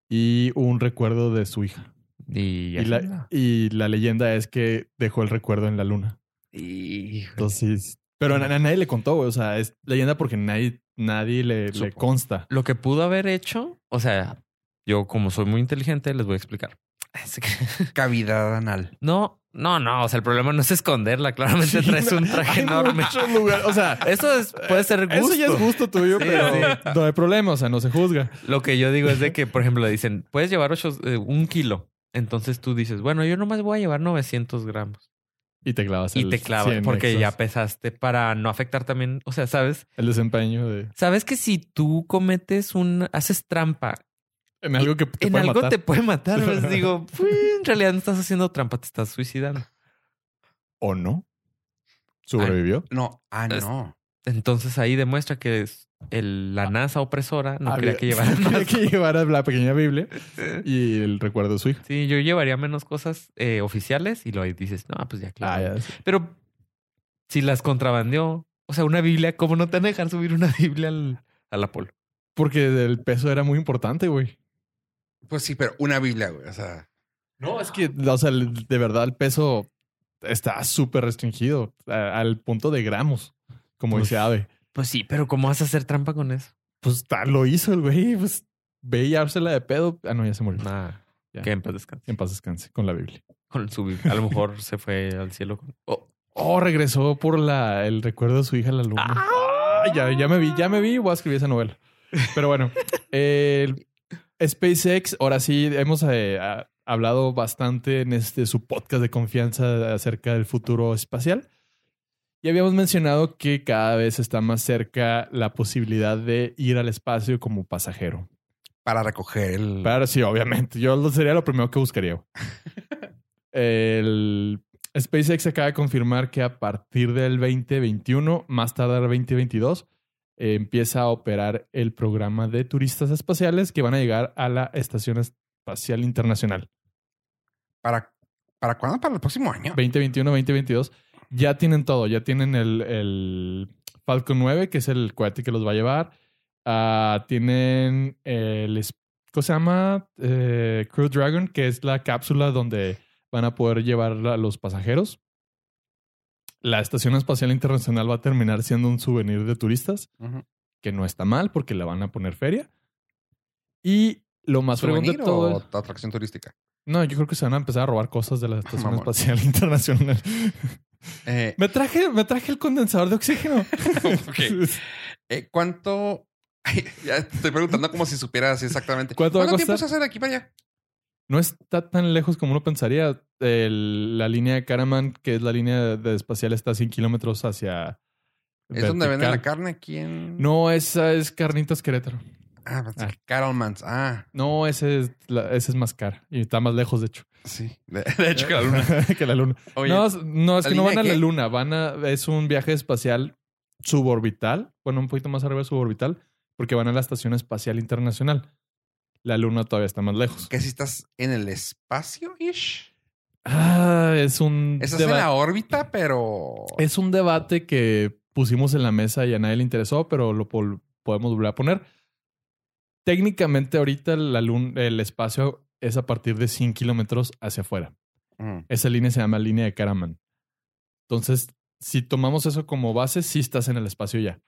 y un recuerdo de su hija. Y, Y así la, anda. y la leyenda es que dejó el recuerdo en la luna. (laughs) Entonces, pero a, a nadie le contó, güey. O sea, es leyenda porque nadie, nadie le, le Supo. consta. lo que pudo haber hecho, o sea, Yo, como soy muy inteligente, les voy a explicar. (laughs) Así que- Cavidad anal. No, no, no. O sea, el problema no es esconderla. Claramente (laughs) traes un traje enorme. Muchos lugares. O sea, Eso (laughs) es- puede ser gusto. eso ya es gusto tuyo, Sí, pero sí. no hay problema. O sea, no se juzga. Lo que yo digo es de que, por ejemplo, le dicen, puedes llevar ocho, eh, un kilo. Entonces tú dices, bueno, yo nomás voy a llevar 900 gramos. Y te clavas Y el te clavas 100 porque extras. ya pesaste para no afectar también. O sea, ¿sabes? El desempeño de... ¿Sabes que si tú cometes un... haces trampa En algo que te en puede algo matar. te puede matar. Pues (laughs) digo, "Pues, en realidad no estás haciendo trampa, te estás suicidando. ¿O no? ¿Sobrevivió? No, ah, Es- no. Entonces ahí demuestra que es el- la NASA opresora no Había- (laughs) quería que llevaran más. Quería que llevara la pequeña (laughs) Biblia y el recuerdo de su hijo. Sí, yo llevaría menos cosas eh, oficiales y luego ahí dices, no, pues ya Ah, claro. ya sé. Pero si las contrabandeó, o sea, una Biblia, ¿cómo no te van a dejar subir una (laughs) Biblia al, al Apolo? Porque el peso era muy importante, güey. Pues sí, pero una Biblia, güey. O sea, No, es que, o sea, el- de verdad el peso está súper restringido a- al punto de gramos, como Pues- dice Ave. Pues sí, pero ¿cómo vas a hacer trampa con eso? Pues ta- lo hizo el güey, pues ve y hársela de pedo. Ah, no, ya se murió. Nada. Ya. Que en paz descanse. En paz descanse con la Biblia. Con su Biblia. A lo mejor se fue al cielo con. Oh, Oh, regresó por la, el recuerdo de su hija, la luna. Ah. Ah, ya, ya me vi, ya me vi. Voy a escribir esa novela. Pero bueno, el SpaceX, ahora sí, hemos eh, ha- hablado bastante en este su podcast de confianza acerca del futuro espacial. Y habíamos mencionado que cada vez está más cerca la posibilidad de ir al espacio como pasajero. para recoger el. Claro, sí, obviamente. Yo lo sería lo primero que buscaría. güey. El SpaceX acaba de confirmar que a partir del 2021, más tardar 2022, eh, empieza a operar el programa de turistas espaciales que van a llegar a la Estación Espacial Internacional. ¿Para, ¿Para cuándo? Para el próximo año. 2021-2022 ya tienen todo. Ya tienen el, el Falcon 9, que es el cohete que los va a llevar. Ah, tienen el... es- ¿Cómo se llama? Eh, Crew Dragon, que es la cápsula donde van a poder llevar a los pasajeros. La Estación Espacial Internacional va a terminar siendo un souvenir de turistas, Ujú. que no está mal porque le van a poner feria. Y lo más fregón de ¿Souvenir todo... o es- atracción turística? No, yo creo que se van a empezar a robar cosas de la Estación Mamón. Espacial (laughs) Internacional. Eh, Me traje, me traje el condensador de oxígeno. (laughs) Ok. eh, ¿Cuánto? (laughs) Ay, ya te estoy preguntando como si supieras exactamente. ¿Cuánto va a tiempo se costar? hace de aquí para allá? No está tan lejos como uno pensaría. El- la línea de Caraman, que es la línea de espacial, está a 100 kilómetros hacia. ¿Es donde venden la vertical. carne aquí en. No, esa es Carnitas Querétaro. Ah, pensé Ah. que Carolmans. Ah, No, ese es, la- ese es más cara y está más lejos, de (laughs) hecho. sí. De, de (laughs) hecho, que la luna. que la luna. Oye, no, es- no, es ¿la que no línea van a de la qué? luna, van a, es un viaje espacial suborbital, bueno, un poquito más arriba de suborbital, porque van a la Estación Espacial Internacional. La luna todavía está más lejos. que si estás en el espacio-ish. Ah, es un Estás en deba- la órbita, pero. es un debate que pusimos en la mesa y a nadie le interesó, pero lo pol- podemos volver a poner. Técnicamente ahorita la lun- el espacio es a partir de 100 kilómetros hacia afuera. Mm. Esa línea se llama línea de Karaman. Entonces, si tomamos eso como base, sí estás en el espacio ya.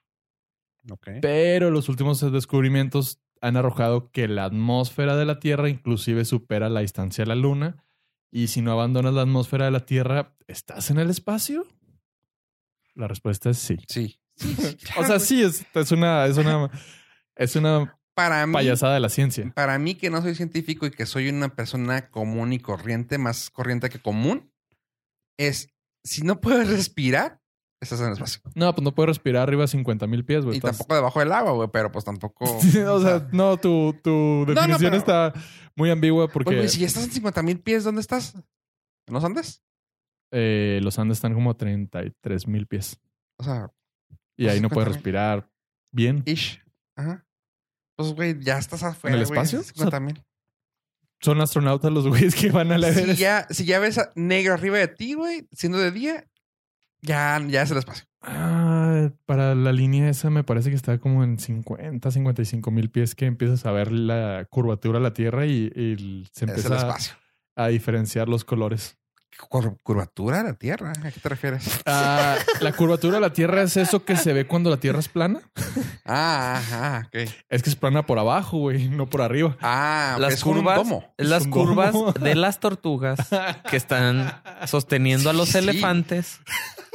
Ok. Pero los últimos descubrimientos han arrojado que la atmósfera de la Tierra inclusive supera la distancia a la Luna. Y si no abandonas la atmósfera de la Tierra, ¿estás en el espacio? La respuesta es sí. Sí. (laughs) O sea, sí, es, es una, es una, es una Para mí, payasada de la ciencia. para mí, que no soy científico y que soy una persona común y corriente, más corriente que común, es si no puedes respirar, estás en el espacio. No, pues no puedes respirar arriba de 50 mil pies, güey. Y Pues Estás- tampoco debajo del agua, güey, pero pues tampoco. (laughs) o sea, no, tu, tu no, definición pero- está muy ambigua Oye, porque güey, si ya estás en 50 mil pies, ¿dónde estás? ¿En los Andes? eh, los Andes están como a 33 mil pies. O sea, Y ahí no 50,000. puedes respirar bien. ish. Ajá. Pues, güey, ya estás afuera. ¿En el güey, espacio? 50 (laughs) mil. Son astronautas los (laughs) güeyes que van a la Si Everest. ya, si ya ves a negro arriba de ti, güey, siendo de día, ya, ya es el espacio. Ah, para la línea esa me parece que está como en 50, 55 mil pies que empiezas a ver la curvatura de la Tierra y, y Es se el empieza espacio. (laughs) a diferenciar los colores. cor- curvatura de la Tierra. ¿A qué te refieres? Ah, la curvatura de la Tierra es eso que se ve cuando la Tierra es plana. Ah, ajá, ok. Es que es plana por abajo, güey, no por arriba. Ah, Las es curvas- con un domo. Es las un curvas domo. de las tortugas que están sosteniendo a los Sí. elefantes.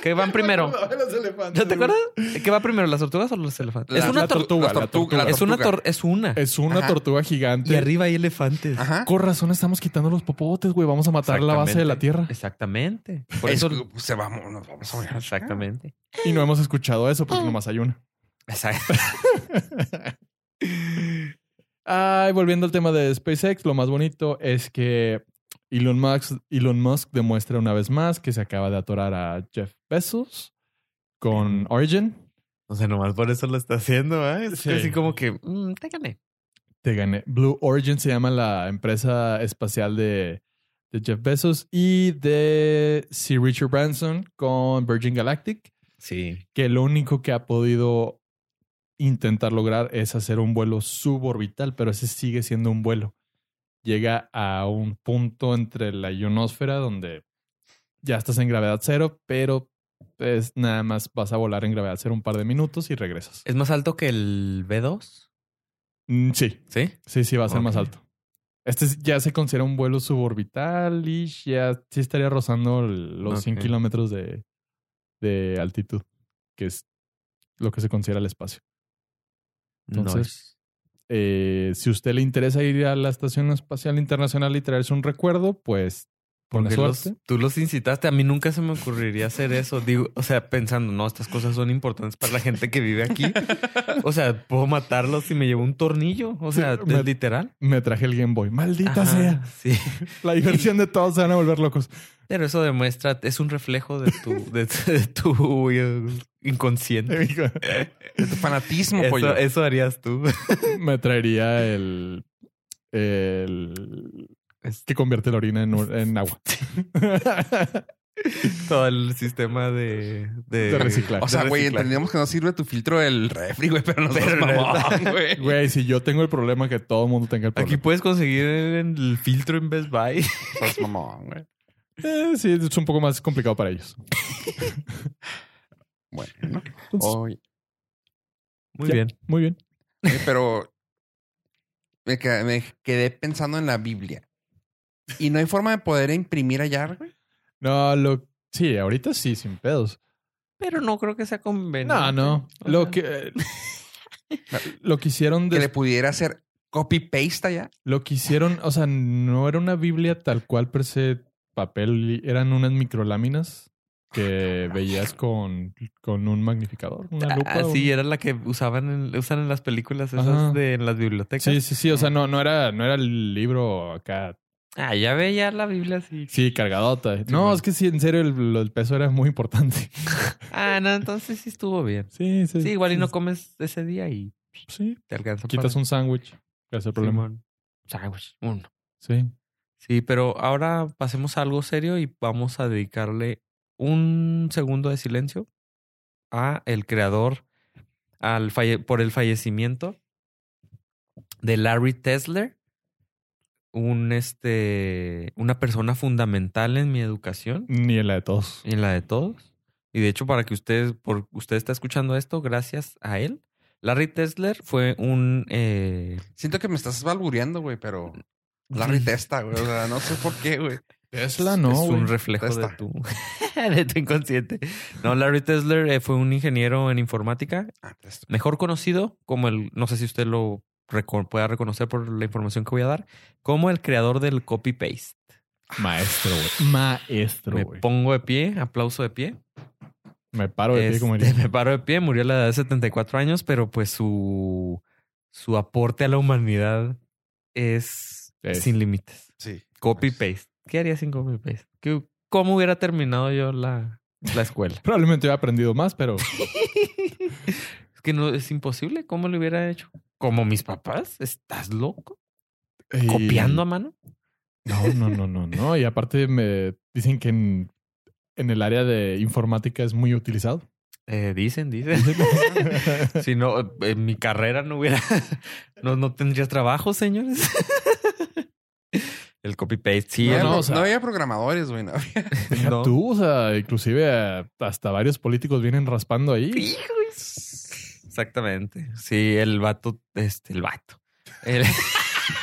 ¿Qué (laughs) van primero? ¿No te acuerdas? ¿Qué va primero, las tortugas o los elefantes? es La- una, la tor- tortuga, La la tortuga. la es una tortuga. tor- es una. Es una Ajá. tortuga gigante. Y arriba hay elefantes. Ajá. Con razón estamos quitando los popotes, güey. Vamos a matar la base de la Tierra. Exactamente. Por Es- pues, eso se va, nos vamos a morir. Exactamente. Y no hemos escuchado eso porque nomás hay una. Exacto. Ay, volviendo al tema de SpaceX, lo más bonito es que Elon Musk, Elon Musk demuestra una vez más que se acaba de atorar a Jeff Bezos con Origin. (laughs) O sea, nomás por eso lo está haciendo, ¿eh? Es Sí. así como que, mm, te gané. Te gané. Blue Origin se llama la empresa espacial de, de Jeff Bezos y de Sir Richard Branson con Virgin Galactic, Sí. que lo único que ha podido intentar lograr es hacer un vuelo suborbital, pero ese sigue siendo un vuelo. Llega a un punto entre la ionosfera donde ya estás en gravedad cero, pero pues nada más vas a volar en gravedad cero un par de minutos y regresas. ¿Es más alto que el B2? Mm, Sí, Sí. Sí, sí, va a ser más Ok. alto. Este es- ya se considera un vuelo suborbital y ya sí estaría rozando el- los 100 Ok. kilómetros de, de altitud, que es lo que se considera el espacio. Entonces- no es- Eh, si a usted le interesa ir a la Estación Espacial Internacional y traerse un recuerdo, pues con porque los- suerte. tú los incitaste. A mí nunca se me ocurriría hacer eso. Digo, o sea, pensando, no, estas cosas son importantes para la gente que vive aquí. O sea, puedo matarlos si me llevo un tornillo. O sea, Me- es literal. Me traje el Game Boy. Maldita Ajá, sea. Sí. La diversión de todos se van a volver locos. Pero eso demuestra, es un reflejo de tu, de, de tu eh, inconsciente. (laughs) Es tu fanatismo, pollo. Eso, eso harías tú. Me traería el. el que convierte la orina en, un- en agua. Todo el sistema de, de, De reciclaje. O sea, de güey, reciclaje. entendíamos que no sirve tu filtro del refri, güey, pero no Pero seas no mamón, güey. (laughs) Güey, si yo tengo el problema que todo el mundo tenga el Aquí problema. puedes conseguir el filtro en Best Buy. (laughs) Seas mamón, güey. Eh, sí, es un poco más complicado para ellos. Bueno, Entonces, oye, Muy ya, bien. Muy bien. oye, pero me, qued- me quedé pensando en la Biblia. Y no hay forma de poder imprimir allá, güey. No, lo. Sí, ahorita sí, sin pedos. Pero no creo que sea conveniente. No, no. O Lo sea, que. (laughs) Lo que hicieron Que des- le pudiera hacer copy-paste allá. Lo que hicieron, o sea, no era una Biblia tal cual per se papel, eran unas microláminas que veías con, con un magnificador, una lupa. Ah, sí, un- era la que usaban en, usan en las películas esas Ajá. de en las bibliotecas. sí, sí, sí, o sea, no, no era, no era el libro acá, Ah, ya veía la Biblia así. sí, cargadota. eh, no, bueno. es que sí, en serio, el, el peso era muy (laughs) importante. Ah, no, entonces sí estuvo bien. Sí, sí. Sí, igual y no comes ese día y Sí, te alcanza. quitas para- un sándwich, que es el problema. Simón. Sándwich, uno. Sí. Sí, pero ahora pasemos a algo serio y vamos a dedicarle un segundo de silencio a el creador al falle- por el fallecimiento de Larry Tesler, un este una persona fundamental en mi educación Ni en la de todos. y en la de todos. Y de hecho, para que ustedes, por usted está escuchando esto, gracias a él. Larry Tesler fue un eh, Siento que me estás balbureando, güey, (laughs) pero Larry Testa, güey. O sea, no sé por qué, güey. Tesla es no, un güey. reflejo de Testa. tu, de tu (laughs) inconsciente. No, Larry Tesler eh, fue un ingeniero en informática, Ah, Testa. mejor conocido como el, no sé si usted lo reco- pueda reconocer por la información que voy a dar, como el creador del copy-paste. Maestro, güey. Maestro, Me güey. pongo de pie, aplauso de pie. Me paro de pie como Este, diría. (laughs) me paro de pie, murió a la edad de 74 años, pero pues su, su aporte a la humanidad es, Es. sin límites. Sí. Pues, Copy-paste. ¿Qué haría sin copy-paste? ¿Qué- ¿Cómo hubiera terminado yo la, la escuela? Probablemente hubiera aprendido más, pero Es que no es imposible. ¿Cómo lo hubiera hecho? Como mis papás. ¿Estás loco? Y- (laughs) ¿Copiando a mano? No, no, no, no, no. Y aparte me dicen que en, en el área de informática es muy utilizado. Eh, dicen, dicen. (laughs) si no, en mi (laughs) carrera no hubiera. No, no tendrías trabajo, señores. (laughs) El copy-paste. Sí, no, el- no, no, o sea- no había programadores, güey. (laughs) no había- Deja No. tú, o sea, inclusive eh, hasta varios políticos vienen raspando ahí. Hijo de su- Exactamente. Sí, el vato, este, el vato. El, (laughs)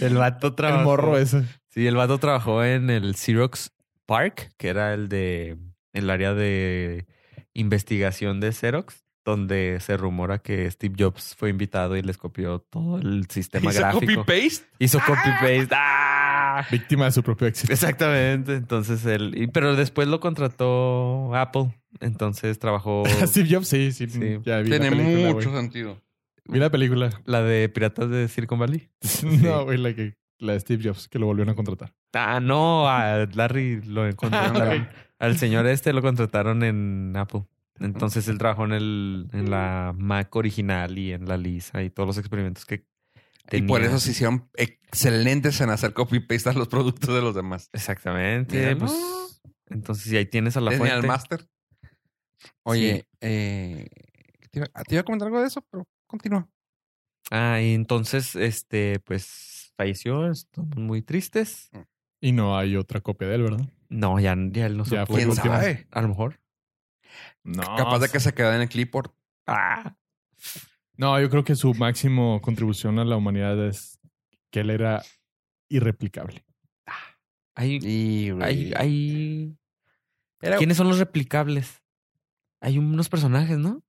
el vato trabajó. El morro ese. Sí, el vato trabajó en el Xerox Park, que era el de el área de investigación de Xerox, donde se rumora que Steve Jobs fue invitado y les copió todo el (laughs) sistema Hizo gráfico. copy-paste. Hizo copy-paste. ¡Ah! Víctima de su propio éxito. Exactamente. Entonces él. y- Pero después lo contrató Apple. Entonces trabajó (laughs) Steve Jobs, sí, sí. Sí. Ya vi Este, Tiene la película, mucho güey. sentido. Vi la película. la de Piratas de Silicon Valley. (laughs) No, güey, la, que, la de Steve Jobs, que lo volvieron a contratar. Ah, no, a Larry lo encontraron. Ah, al- ok. Al señor este lo contrataron en Apple. Entonces él trabajó en, el, en la Mac original y en la Lisa y todos los experimentos que Y por tenía. eso se hicieron excelentes en hacer copy-paste a los productos de los demás. Exactamente. Eh, Mira, pues, no. entonces y ahí tienes a la Tenía el fuente. máster. Oye, eh, te, iba, te iba a comentar algo de eso, pero continúa. Ah, y entonces, este, pues falleció. Estamos muy tristes. Y no hay otra copia de él, ¿verdad? No, ya, ya él no Ya supo. fue ¿Quién la última. sabe? A lo mejor. No. Capaz de que se quedó en el clipboard. Ah, No, yo creo que su máximo contribución a la humanidad es que él era irreplicable. hay, Y, güey, hay, hay... era- ¿Quiénes son los replicables? Hay unos personajes, ¿no?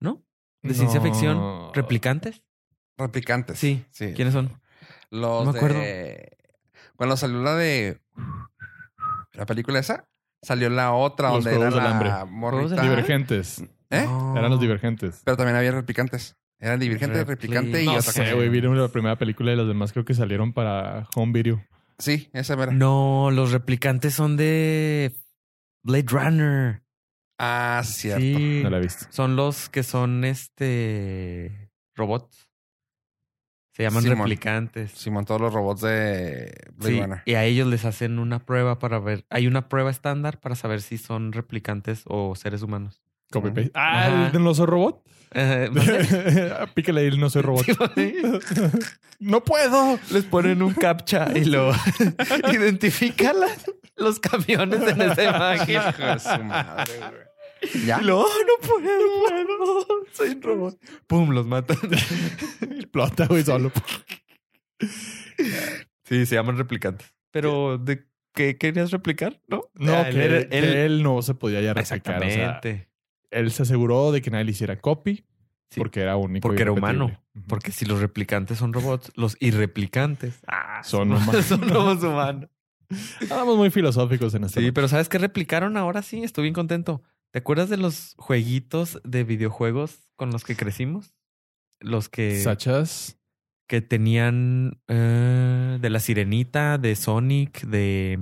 ¿No? ¿De ciencia No. ficción? ¿Replicantes? Replicantes. Sí. sí. ¿Quiénes son? Los No me acuerdo. de... Cuando salió la de... La película esa, salió la otra Los donde era Juegos del la Hambre. morrita. Juegos del Hambre. Divergentes. ¿Eh? No. Eran los divergentes. Pero también había replicantes. Era el divergente, Repli- replicante y No No otra sé, cosa. güey. Vieron la primera película y las demás creo que salieron para home video. Sí, esa mera. No, los replicantes son de Blade Runner. Ah, cierto. Sí. No la he visto. Son los que son este robots. Se llaman Simón. replicantes. Simón, todos los robots de Blade Sí, Runner. y a ellos les hacen una prueba para ver. Hay una prueba estándar para saber si son replicantes o (laughs) seres humanos. (laughs) Copy Ajá. paste. Ah, Ajá. el de no soy robot. Eh, ¿vale? (laughs) Pícale ahí, el no soy robot. pues no puedo. les ponen un captcha y (laughs) lo identifican los camiones en (laughs) esa imagen. Hijo de su madre, güey. ¿Ya? Y luego, "Ah, (laughs) no puedo, no puedo, soy un robot. Pum, los matan. (laughs) Explota, güey, solo. Sí, se llaman replicantes. Pero, ¿de qué querías replicar? No, No, que, Ah, él que él, era- él- no se podía ya replicar. o sea, Exactamente. él se aseguró de que nadie le hiciera copy Sí. porque era único. Porque e era irrepetible. humano. Ujú. Porque si los replicantes son robots, los irreplicantes ah, Son humanos. (laughs) son robots humanos. Estábamos muy filosóficos en este. Sí, momento. pero ¿sabes qué replicaron ahora? Sí, estoy bien contento. ¿Te acuerdas de los jueguitos de videojuegos con los que crecimos? Los que, Sachas. que tenían eh, de la sirenita, de Sonic, de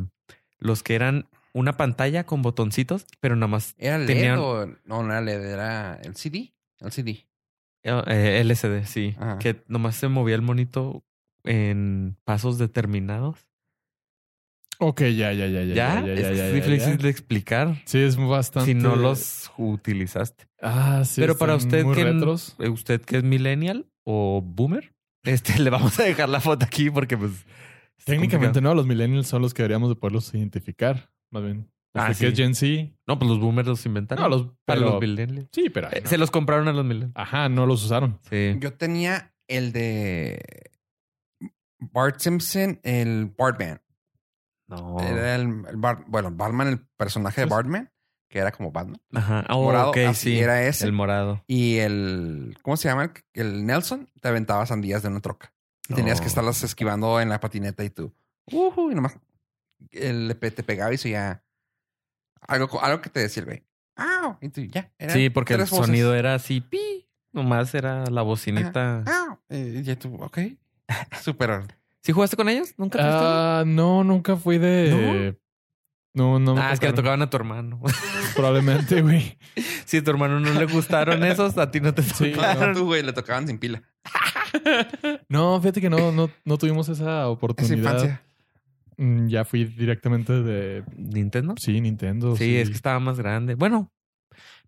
los que eran una pantalla con botoncitos, pero nada más ¿Era LED Tenían- o...? No, no era LED, era el CD. El CD. Eh, LCD, sí. Ajá. Que nomás se movía el monito en pasos determinados. Ok, ya, ya, ya, ya. ¿Ya? ya, Es ya, que ya, es ya, difícil ya. de explicar Sí, es bastante. si no los utilizaste. Ah, sí. Pero para están usted muy que n- retros. Eh, ¿Usted que es millennial o boomer? Este, (laughs) le vamos a dejar la foto aquí porque pues... está Técnicamente complicado. no, los millennials son los que deberíamos de poderlos identificar. Más bien. Ah, Usted que sí. es Gen Z. No, pues los boomers los inventaron. No, los, para pero- los millennials. Sí, pero. Eh, Se los compraron a los millennials. Ajá, no los usaron. Sí. Yo tenía el de... Bart Simpson, el Bartman. No. Era el, el Bart- bueno, Batman, el personaje de Pues- Bartman, que era como Batman. Ajá. Ah, morado, ok, así sí. era ese. El morado. Y el, ¿cómo se llama? El- El Nelson te aventaba sandías de una troca. Y tenías No. que estarlas esquivando en la patineta y tú. ujú, y nomás. El, le pe- te pegaba y eso ya. Algo, co- algo que te decía el güey. ¡Au! Y tú ya. eran Sí, porque el tres voces. sonido era así, pi. Nomás era la bocinita. ¡Au! Y ya tú, ok. (laughs) Súper. Ah. ¿Sí jugaste con ellos? ¿Nunca te gustaron? Ah, no, nunca fui de. No, no. me Ah, es que le tocaron. tocaban a tu hermano. (laughs) (laughs) Probablemente, güey. si a tu hermano no le gustaron esos, a ti no te Sí, tocaron. No, tú, güey, le tocaban sin pila. No, fíjate que no, no, no tuvimos esa Esa oportunidad. infancia. Mm, Ya fui directamente de. ¿Nintendo? Oh, Sí, Nintendo. Sí, es que estaba más grande. Bueno,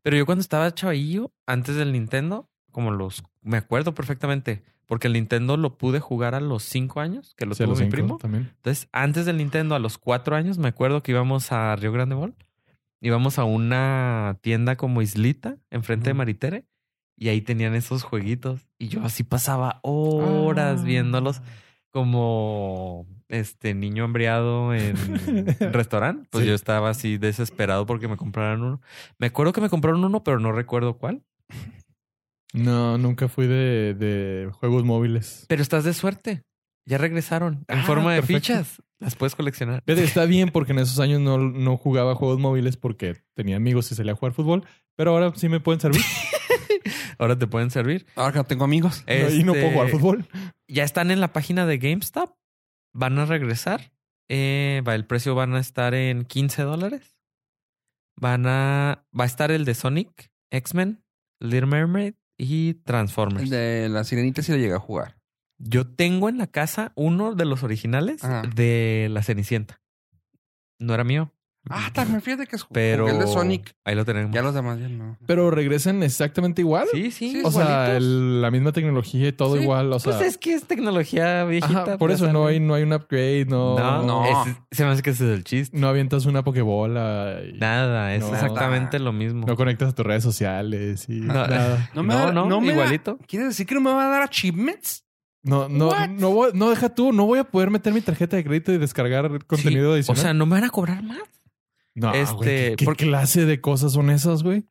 pero yo cuando estaba chavillo, antes del Nintendo, como los... Me acuerdo perfectamente, porque el Nintendo lo pude jugar a los cinco años, que lo Sí, a tuvo los mi cinco primo. También. Entonces, antes del Nintendo, a los cuatro años, me acuerdo que íbamos a Río Grande Mall. Íbamos a una tienda como islita, enfrente de Ujú. Maritere. Y ahí tenían esos jueguitos. Y yo así pasaba horas Ah. viéndolos como este niño embriado (laughs) en un restaurante. Pues Sí. yo estaba así desesperado porque me compraran uno. Me acuerdo que me compraron uno, pero no recuerdo cuál. No, nunca fui de, de juegos móviles. Pero estás de suerte. Ya regresaron en Ah, forma de perfecto. fichas. Las puedes coleccionar. Fíjate, está bien porque en esos años no, no jugaba juegos móviles porque tenía amigos y salía a jugar fútbol, pero ahora sí me pueden servir (laughs) Ahora te pueden servir. Ahora que no tengo amigos. ¿no? y no puedo jugar Este, fútbol. ya están en la página de GameStop. Van a regresar. Eh, va, el precio van a estar en 15 dólares. Van a. Va a estar el de Sonic, X-Men, Little Mermaid y Transformers. El de la sirenita sí lo llegué a jugar. Yo tengo en la casa uno de los originales Ajá. de la Cenicienta. No era mío. Ah, también fíjate que es Pero. el de Sonic. Ahí lo tenemos. Ya los demás ya no. Pero regresan exactamente igual. Sí, sí. Sí, o sea, igualitos. el- la misma tecnología y todo Sí, igual. O sea, pues es que es tecnología viejita. ajá, por pues, eso no hay, no hay un upgrade, no, no, No, no. es- se me hace que ese es el chiste. avientas una pokebola, y Nada, es No. exactamente lo mismo. no conectas a tus redes sociales y No. nada. No me da- no me da- igualito. ¿Quieres decir que no me va a dar achievements? No, no, What? no, voy- no deja tú, no voy a poder meter mi tarjeta de crédito y descargar contenido Sí, adicional. O sea, no me van a cobrar más. no, güey, este, ¿qué, qué porque- clase de cosas son esas, güey?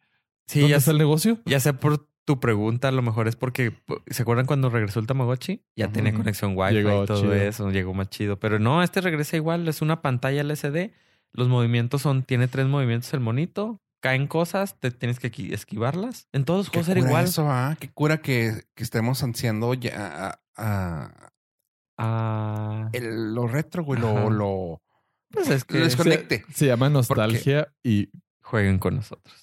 Sí, ¿Dónde ya, está sé- el negocio? ya sé por tu pregunta, a lo mejor es porque po- ¿se acuerdan cuando regresó el Tamagotchi? Ya Ujú. tenía conexión Wi-Fi Llegó y todo chido. eso, llegó más chido. Pero no, este regresa igual, es una pantalla LCD. Los movimientos son, tiene tres movimientos el monito, caen cosas, te tienes que qui- esquivarlas. En todos los Qué juegos era cura igual. Eso, ah? Qué cura que, que estemos ansiando ya a, a- Ah, el- lo retro, güey. Lo, Ajá. lo, pues es lo que desconecte. Se llama nostalgia y jueguen con nosotros.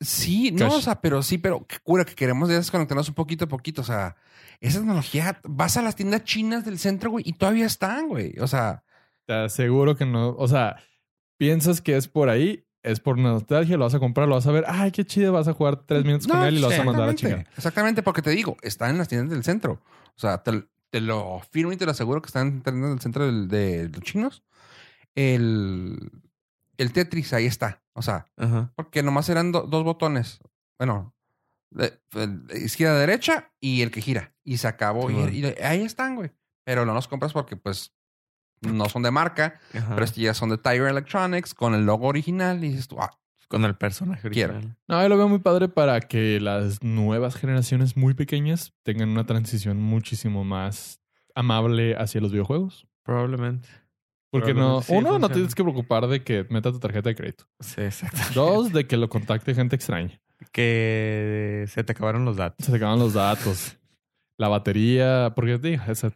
Sí, no, Cash. o sea, pero sí, pero qué cura que queremos ya desconectarnos un poquito a poquito. O sea, esa tecnología, vas a las tiendas chinas del centro, güey, y todavía están, güey. O sea, te aseguro que no. O sea, piensas que es por ahí, es por nostalgia, lo vas a comprar, lo vas a ver. Ay, qué chido, vas a jugar tres minutos con Mm, No, él y lo vas a mandar a exactamente. chingar. Exactamente, porque te digo, están en las tiendas del centro. O sea, te, te lo firmo y te lo aseguro que están en las tiendas del centro del- de los chinos. El, el Tetris, ahí está. O sea, Ajá. porque nomás eran do- dos botones. Bueno, de- de izquierda, derecha y el que gira. Y se acabó. Simón. y, y ahí están, güey. Pero no los compras porque, pues, no son de marca, ajá. pero estos ya son de Tiger Electronics con el logo original. Y dices tú, ah, con el personaje Quiero. original. No, yo lo veo muy padre para que las nuevas generaciones muy pequeñas tengan una transición muchísimo más amable hacia los videojuegos. Probablemente. Porque no, Probablemente sí uno, no funciona. te tienes que preocupar de que meta tu tarjeta de crédito. Sí, exacto. Dos, de que lo contacte gente extraña. que se te acabaron los datos. Se te acaban los datos. La batería, porque digo, esa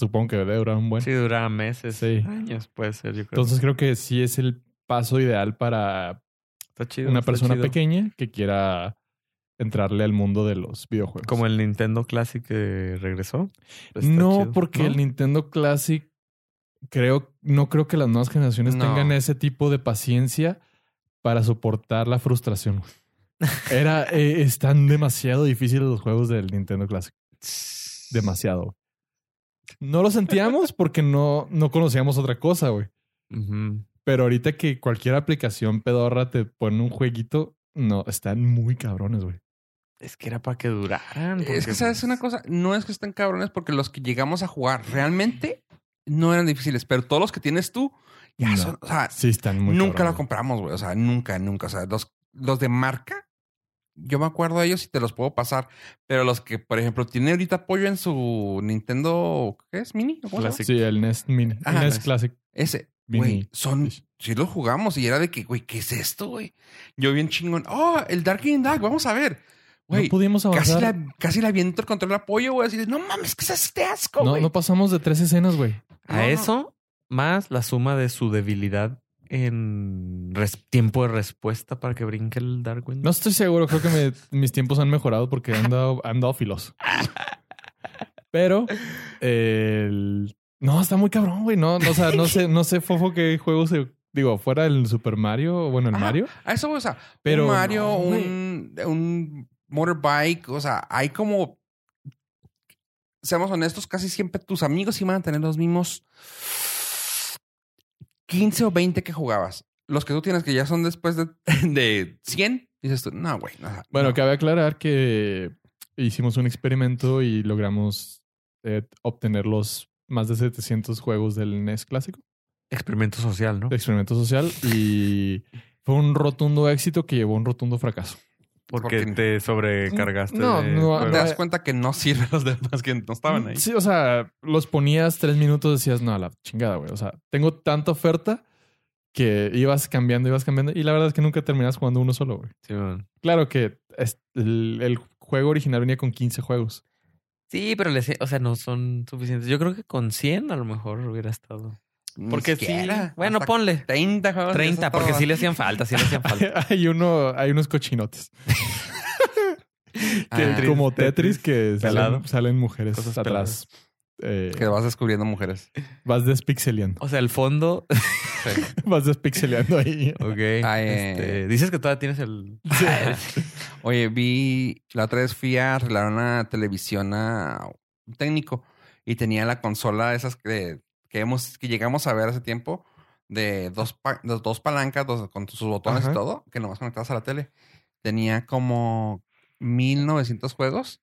supongo que debe durar un buen. Sí, dura meses, Sí. años, puede ser, yo creo. Entonces creo que sí es el paso ideal para está chido. una está persona chido. pequeña que quiera entrarle al mundo de los videojuegos. Como el Nintendo Classic que regresó. Pues Está no, chido, porque ¿no? el Nintendo Classic creo no creo que las nuevas generaciones No. tengan ese tipo de paciencia para soportar la frustración. Era eh, están demasiado difíciles los juegos del Nintendo Classic, demasiado. No lo sentíamos porque no no conocíamos otra cosa, güey. Ujú. Pero ahorita que cualquier aplicación pedorra te pone un jueguito, no, están muy cabrones, güey. Es que era para que duraran. pues, Es que, ¿sabes una pues cosa? No es que estén cabrones porque los que llegamos a jugar realmente no eran difíciles, pero todos los que tienes tú ya No. son. O sea, Sí, están muy nunca los cabrones. compramos, güey. O sea, nunca, nunca. O sea, los, los de marca, yo me acuerdo de ellos y te los puedo pasar, pero los que, por ejemplo, tiene ahorita apoyo en su Nintendo, ¿qué es? ¿Mini? ¿O cómo se llama? Classic. Sí, el NES Mini. Ajá, el NES NES. Classic. Ese. Mini. Güey, son. Sí. Sí, los jugamos y era de que, güey, ¿qué es esto, güey? Yo bien chingón. Oh, el Dark in Dark, vamos a ver. Güey, no pudimos Casi avanzar. la, casi la viento el control de apoyo, güey. Así de, no mames, que es este asco, no, güey. no pasamos de tres escenas, güey. No, A no. eso, más la suma de su debilidad en res- tiempo de respuesta para que brinque el Darwin. No estoy seguro, creo que me- mis tiempos han mejorado porque han dado, han dado filos. Pero el- no, está muy cabrón, güey. No, no, o sea, no sé, no sé, Fofo, qué juegos se- digo, fuera el Super Mario, bueno, el Ajá. Mario, A eso, güey, o sea, pero un Mario, no, güey. un, un motorbike, o sea, hay como, seamos honestos, casi siempre tus amigos iban a tener los mismos 15 o 20 que jugabas. Los que tú tienes que ya son después de, (laughs) de 100, dices tú, no, güey. no, Bueno, no". cabe aclarar que hicimos un experimento y logramos eh, obtener los más de 700 juegos del NES clásico, Experimento social, ¿no? de experimento social, y fue un rotundo éxito que llevó a un rotundo fracaso. Porque Porque te sobrecargaste. No, de no, te juegos. no, das cuenta que no sirven (laughs) los demás que no estaban ahí. Mm, Sí, o sea, los ponías tres minutos, decías, no, a la chingada, güey. O sea, tengo tanta oferta que ibas cambiando, ibas cambiando, y la verdad es que nunca terminas jugando uno solo, güey. Sí, man. Claro que es- el, el juego original venía con 15 juegos. Sí, pero les, o sea, no son suficientes. Yo creo que con 100 a lo mejor hubiera estado. Ni Porque sí. siquiera. Bueno, Hasta ponle 30 juegos. 30, porque sí le hacían falta, sí le hacían falta. (laughs) hay, uno, hay unos (laughs) cochinotes. que- Ah. como Tetris, que salen, Pelado. salen mujeres Cosas atrás. Eh, Que vas descubriendo mujeres. vas despixeleando. (laughs) O sea, el fondo. (laughs) vas despixeleando ahí. Ok. Ay, Este, dices que todavía tienes el. Oye, vi la otra vez fui a arreglar una televisión a un técnico y tenía la consola de esas que, que hemos, que llegamos a ver hace tiempo de dos, pa- de dos palancas dos- con sus botones Ajá. y todo, que nomás conectabas a la tele. Tenía como 1900 juegos,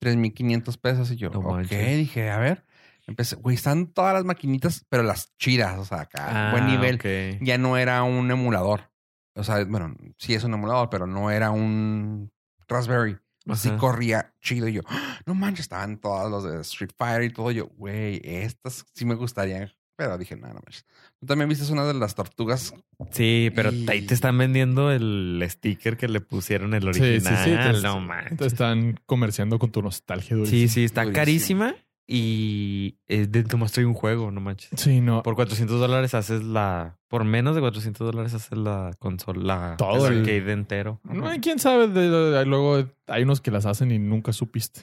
3500 pesos. Y yo, No ok, manches. dije, a ver. Empecé, güey, están todas las maquinitas, pero las chidas, o sea, acá, Ah, buen nivel ok. ya no era un emulador. O sea, bueno, sí es un emulador, pero no era un Raspberry. Así Ajá. corría chido. Y yo, ¡Ah! no manches, estaban todos los de Street Fighter y todo. Yo, güey, estas sí me gustarían. Pero dije, no, no manches. Tú también viste una de las tortugas. Sí, pero Y- ahí te están vendiendo el sticker que le pusieron el Sí, sí, original. sí. te- no manches. Te están comerciando con tu nostalgia Sí, durísima. sí, está Durísimo. carísima y es de nomás trae un juego, no manches. Sí, no. Por 400 dólares haces la. Por menos de 400 dólares haces la consola. la- Todo el el- arcade entero. No, quién sabe. de- de- luego hay unos que las hacen y nunca supiste.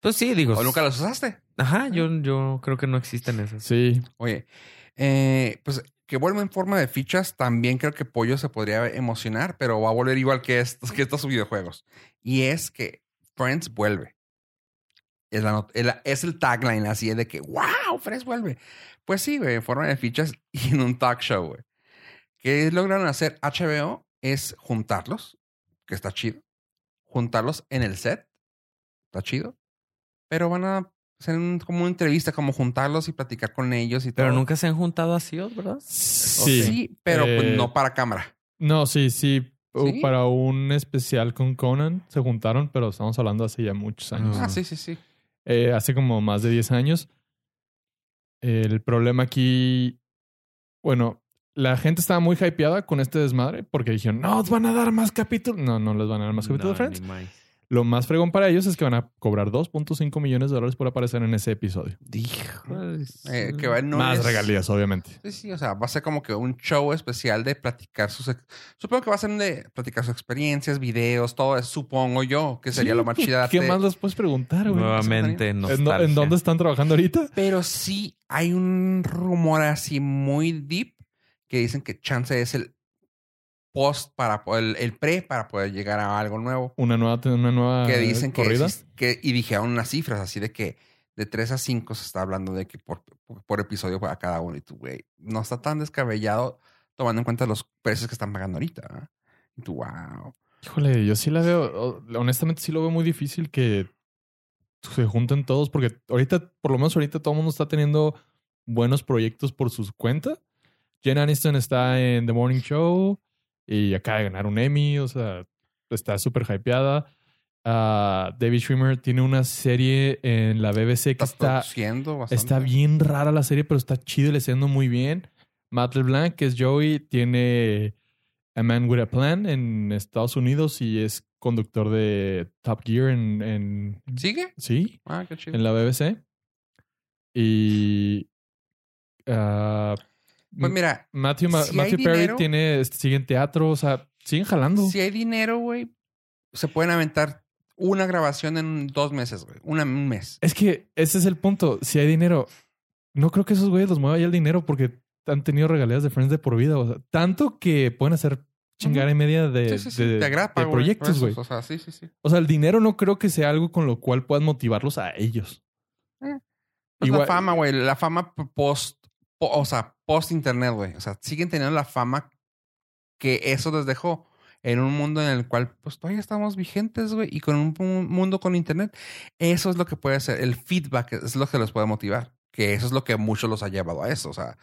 Pues sí, digo. ¿O nunca las usaste? Ajá, yo, yo creo que no existen esas. Sí. Oye, eh, pues que vuelva en forma de fichas, también creo que Pollo se podría emocionar, pero va a volver igual que estos, que estos videojuegos. Y es que Friends vuelve. Es, la not- es la- es el tagline así es de que, wow, Friends vuelve. Pues sí, güey, en forma de fichas (laughs) y en un talk show, güey. Que lograron hacer HBO es juntarlos, que está chido. Juntarlos en el set, está chido. Pero van a hacer un- como una entrevista, como juntarlos y platicar con ellos y todo. Pero nunca se han juntado así, ¿verdad? O Sí. sí, pero pues Eh, no para cámara. No, sí, sí. O ¿Sí? Para un especial con Conan se juntaron, pero estamos hablando hace ya muchos años. Ah. Ah, sí, sí, sí. Eh, hace como más de 10 años. El problema aquí, bueno, la gente estaba muy hypeada con este desmadre porque dijeron, no, os van a dar más capítulos. No, no les van a dar más capítulos, No, de Friends. ni más. Lo más fregón para ellos es que van a cobrar 2.5 millones de dólares por aparecer en ese episodio. Hijos. Eh, que va- no más es- regalías, obviamente. Sí, sí, o sea, va a ser como que un show especial de platicar sus... ex- Supongo que va a ser de platicar sus experiencias, videos, todo eso, supongo yo, que sería lo más Sí, chida. (laughs) ¿Qué más les puedes preguntar, güey? Nuevamente, ¿En, do- nostalgia. en dónde están trabajando ahorita? Pero sí hay un rumor así muy deep que dicen que Chance es el post para... po- El, el pre para poder llegar a algo nuevo. Una nueva, una nueva Que dicen que, Ah, corrida. exist- que... Y dijeron unas cifras así de que de 3 a 5 se está hablando de que por, por episodio para cada uno. Y tú, güey, no está tan descabellado tomando en cuenta los precios que están pagando ahorita. ¿verdad? Y tú, wow. Híjole, yo sí la veo, o- honestamente sí lo veo muy difícil que se junten todos, porque ahorita, por lo menos ahorita todo el mundo está teniendo buenos proyectos por sus cuentas. Jen Aniston está en The Morning Show y acaba de ganar un Emmy, o sea, está súper hypeada. Ah, David Schwimmer tiene una serie en la BBC que Está, está, produciendo bastante. está bien rara la serie, pero está chido y le está yendo muy bien. Matt LeBlanc, que es Joey, tiene A Man With a Plan en Estados Unidos y es conductor de Top Gear en, en- ¿Sigue? sí, Ah, qué chido. en la BBC. Y ah, Pues mira, Matthew, Ma- si hay Matthew Perry dinero- tiene este, sigue en teatro, o sea, siguen jalando. si hay dinero, güey, se pueden aventar una grabación en dos meses, güey. Una, un mes. Es que ese es el punto. Si hay dinero, no creo que esos güeyes los mueva ya el dinero porque han tenido regalías de Friends de por vida. O sea, tanto que pueden hacer chingada y media de, sí, sí, sí. de- te agrapa, de güey. proyectos, Esos, güey. O sea, sí, sí, sí. O sea, el dinero no creo que sea algo con lo cual puedas motivarlos a ellos. Pues Igual- la fama, güey. La fama p- post, po- o sea, post internet, güey. O sea, siguen teniendo la fama que eso les dejó en un mundo en el cual, pues todavía estamos vigentes, güey. Y con un pu- mundo con internet, eso es lo que puede ser. El feedback es lo que los puede motivar. Que eso es lo que muchos los ha llevado a eso. O sea,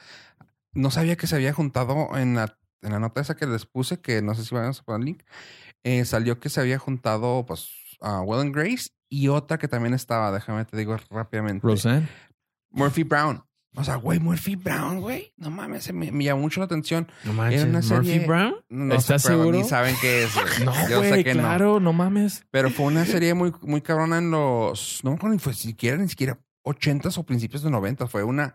no sabía que se había juntado en la, en la nota esa que les puse, que no sé si van a poner el link. eh, salió que se había juntado, pues, a Will and Grace y otra que también estaba, déjame te digo rápidamente. Roseanne. Murphy Brown. O sea, güey, Murphy Brown, güey. No mames, se me, me llamó mucho la atención. No manches, Era una serie- Murphy ¿Murphy Brown. No ¿Estás sé, pero seguro? Ni saben qué (laughs) es. güey. No, Yo sé güey, que no. claro, no. mames. Pero fue una serie muy, muy cabrona en los. No me acuerdo ni fue siquiera, ni siquiera 80s o principios de 90. Fue una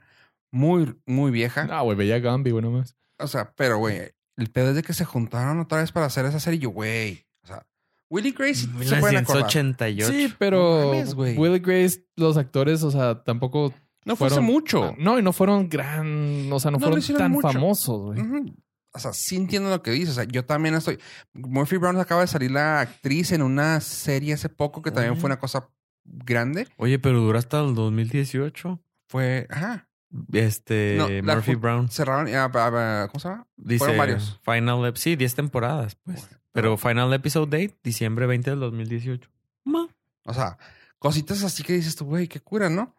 muy, muy vieja. No, Ah, güey, veía Gambi, güey, no mames. O sea, pero, güey, el pedo es de que se juntaron otra vez para hacer esa serie. Yo, güey. O sea, Willy Grace se pueden acordar. 1988. Sí, pero No mames, güey. Will Grace, los actores, o sea, tampoco. No fue hace fueron- mucho. No, y no fueron gran. O sea, no, No lo fueron hicieron tan mucho. famosos, güey. Ujú. O sea, sí entiendo lo que dices. O sea, yo también estoy. Murphy Brown acaba de salir la actriz en una serie hace poco que también Oye. fue una cosa grande. Oye, pero duró hasta el 2018. Fue. Ajá. Este, No, la Murphy ju- Brown. Cerraron. ah, ah, ah, ¿Cómo se llama? Dice, fueron varios. Final ep- sí, 10 temporadas, pues. Bueno. Pero final episode date, diciembre 20 del 2018. Ma. O sea, cositas así que dices tú, güey, qué cura, ¿no?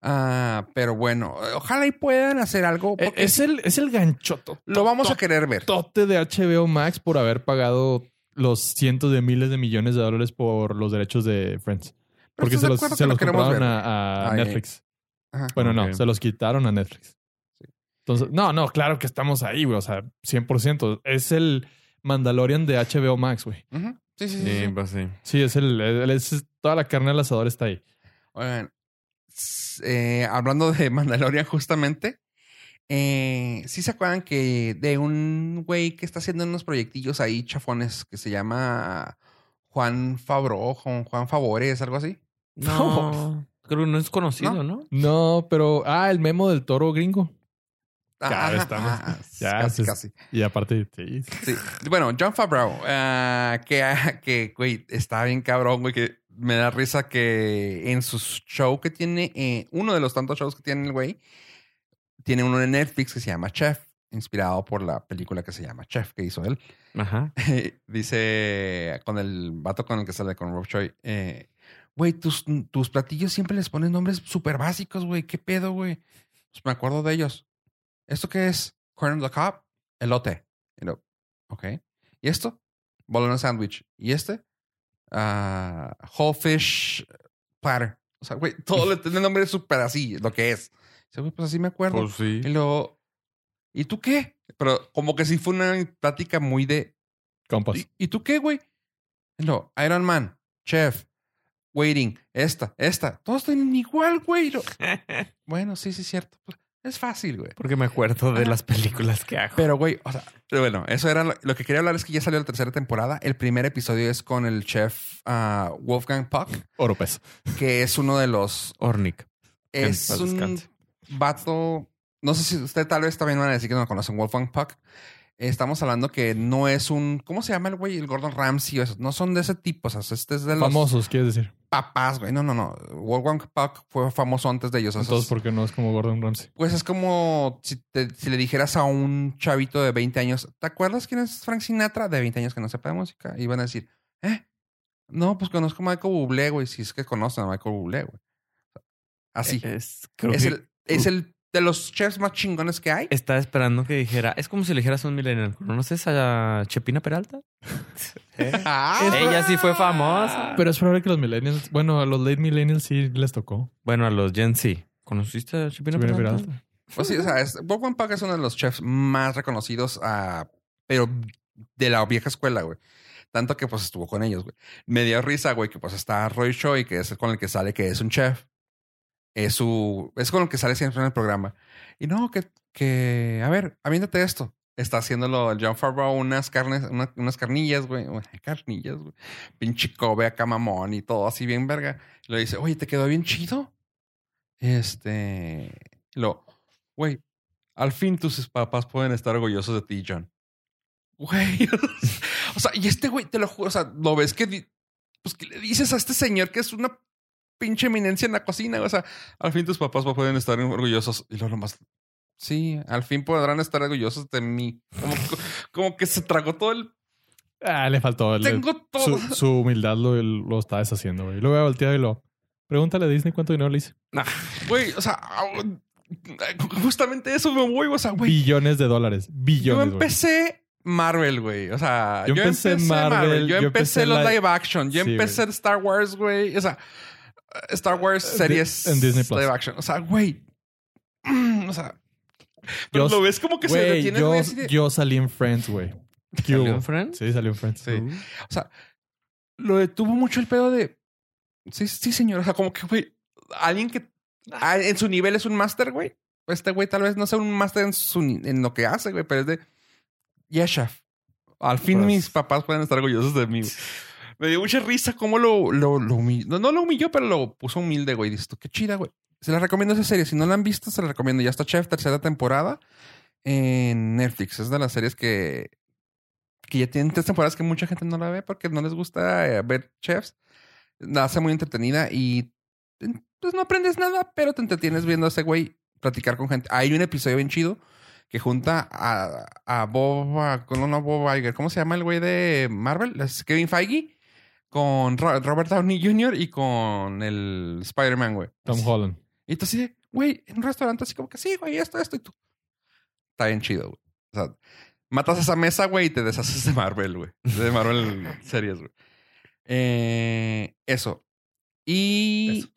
Ah, pero bueno, ojalá y puedan hacer algo Eh, porque Es el, es el ganchoto. lo vamos a querer ver. tote de HBO Max por haber pagado los cientos de miles de millones de dólares por los derechos de Friends. Pero Porque ¿estás se de los, acuerdo se que lo los queremos compraron ver? a, a Ay, Netflix. Ajá. Bueno, Ok. no, se los quitaron a Netflix. Entonces, no, no, claro que estamos ahí, güey. O sea, 100%. Es el Mandalorian de HBO Max, güey. Ujú. Sí, sí, sí. eh, sí. pues sí. Sí, es el, el- es- toda la carne al asador está ahí. Oigan, s- eh, hablando de Mandalorian justamente, eh, ¿sí se acuerdan que de un güey que está haciendo unos proyectillos ahí chafones que se llama Juan Fabro, Juan, Juan Favores, algo así? No, creo que no es conocido, ¿no? No, pero ah, el memo del toro gringo. Ah, Ya ajá, estamos- ajá, ya casi, se- casi. Y aparte, sí. Sí. Bueno, John Favreau, ah, que, ah, que, güey, está bien cabrón, güey, que me da risa que en su show que tiene, eh, uno de los tantos shows que tiene el güey, tiene uno en Netflix que se llama Chef, inspirado por la película que se llama Chef que hizo él. Ajá. (laughs) Dice con el vato con el que sale con Rob Choi, eh, güey, tus, tus platillos siempre les ponen nombres súper básicos, güey, ¿qué pedo, güey? Pues me acuerdo de ellos. ¿Esto qué es? Corn on the cob, elote. Y lo- ok. ¿Y esto? Bolona sandwich. ¿Y este? Ah, whole fish platter. O sea, güey, todo le tiene nombre súper así, lo que es. Dice, güey, pues así me acuerdo. sí. y luego, ¿y tú qué? Pero como que sí fue una plática muy de Compas. ¿Y, y tú qué, güey? No, Iron Man, Chef, Waiting, esta, esta. Todos tienen igual, güey. (laughs) Lo- Bueno, sí, sí, es cierto. Pues, Es fácil, güey. Porque me acuerdo de las películas que hago. Pero, güey, o sea, pero bueno, eso era lo, lo que quería hablar es que ya salió la tercera temporada. El primer episodio es con el chef ah, Wolfgang Puck, Oropes. que es uno de los. Ornick. Es Que en paz un descanse. vato. No sé si usted tal vez también van a decir que no lo conocen, Wolfgang Puck. Estamos hablando que no es un. ¿Cómo se llama el güey? El Gordon Ramsay. o eso. No son de ese tipo. O sea, este es de los. Famosos, quieres decir. papás, güey. No, no, no. Wolfgang Puck fue famoso antes de ellos. O sea, Entonces, porque no es como Gordon Ramsay. Pues es como si, te- si le dijeras a un chavito de 20 años, ¿te acuerdas quién es Frank Sinatra? De 20 años que no sepa de música. Y van a decir, ¿eh? No, pues conozco a Michael Bublé, güey. Si es que conocen a Michael Bublé, güey. Así. Es, creo Es que el, es el de los chefs más chingones que (laughs) hay. estaba esperando que dijera. Es como si le dijeras a un millennial. ¿Conoces a Chepina Peralta? Ah. Ella sí fue famosa. Ah. Pero es probable que los millennials, bueno, a los late millennials sí les tocó. Bueno, a los Gen Z. ¿Conociste a Chepina Chepina Peralta? Pues sí, o sea, es, Wolfgang Puck es uno de los chefs más reconocidos, ah, pero de la vieja escuela, güey. Tanto que pues estuvo con ellos, güey. Me dio risa, güey, que pues está Roy Choi, que es con el que sale, que es un chef. Es su. Es con el que sale siempre en el programa. Y no, que. que a ver, aviéntate esto. Está haciéndolo el John Favreau unas carnes, una- unas carnillas, güey. Uy, (laughs) Carnillas, güey. Pinche Kobe acá mamón y todo así bien verga. Y le dice, oye, ¿te quedó bien chido? Este. y Lo. Güey, al fin tus papás pueden estar orgullosos de ti, John. Güey. (laughs) o sea, y este güey, te lo juro, o sea, lo ves que. di- Pues, ¿qué le dices a este señor que es una pinche eminencia en la cocina? O sea, al fin tus papás pueden estar orgullosos. Y lo nomás. Sí, al fin podrán estar orgullosos de mí. Como, como que se tragó todo el. Ah, le faltó. el- Tengo todo. su, su humildad lo, lo está deshaciendo, güey. Lo voy a voltear y lo. Pregúntale a Disney cuánto dinero le hice. Güey, o sea, au- justamente eso me voy. O sea, güey, Billones de dólares. Yo Billones. güey. empecé Marvel, güey. O sea, Yo empecé Marvel, Yo, yo empecé, empecé los la- live action. Yo Sí, empecé Star Wars, güey. O sea, Star Wars Di- series Eh, en Disney Plus. live action. O sea, güey. (clears throat) Mm, o sea. Pero Yo- lo ves como que se Güey, detiene. yo, güey, así de- yo salí en Friends, güey. ¿Qué ¿Salió hubo? en Friends? Sí, salió en Friends. Sí. O sea, lo detuvo mucho el pedo de. Sí, sí, señor. O sea, como que, güey, alguien que ah, en su nivel es un máster, güey. Este güey tal vez no sea un máster en, su ni- en lo que hace, güey, pero es de. Ya, chef. Al fin Pues- mis papás pueden estar orgullosos de mí. güey. Me dio mucha risa cómo lo, lo, humilló. No, no lo humilló, pero lo puso humilde, güey. Dices tú, qué chida, güey. Se la recomiendo esa serie. Si no la han visto, se la recomiendo. Ya está Chef, tercera temporada en Netflix. Es de las series que, que ya tienen tres temporadas que mucha gente no la ve porque no les gusta eh, ver chefs. La hace muy entretenida y en- pues no aprendes nada, pero te entretienes viendo a ese güey platicar con gente. Hay un episodio bien chido que junta a, a Bob, a- con no, no, Bob Iger, ¿cómo se llama el güey de Marvel? Es Kevin Feige con Ro- Robert Downey Jr. y con el Spider-Man, güey. Tom Holland. Y tú así de, güey, en un restaurante así como que sí, güey, esto, esto y tú. Está bien chido, güey. O sea, matas esa mesa, güey, y te deshaces de Marvel, güey. De (laughs) Marvel series, güey. Eh, eso. Y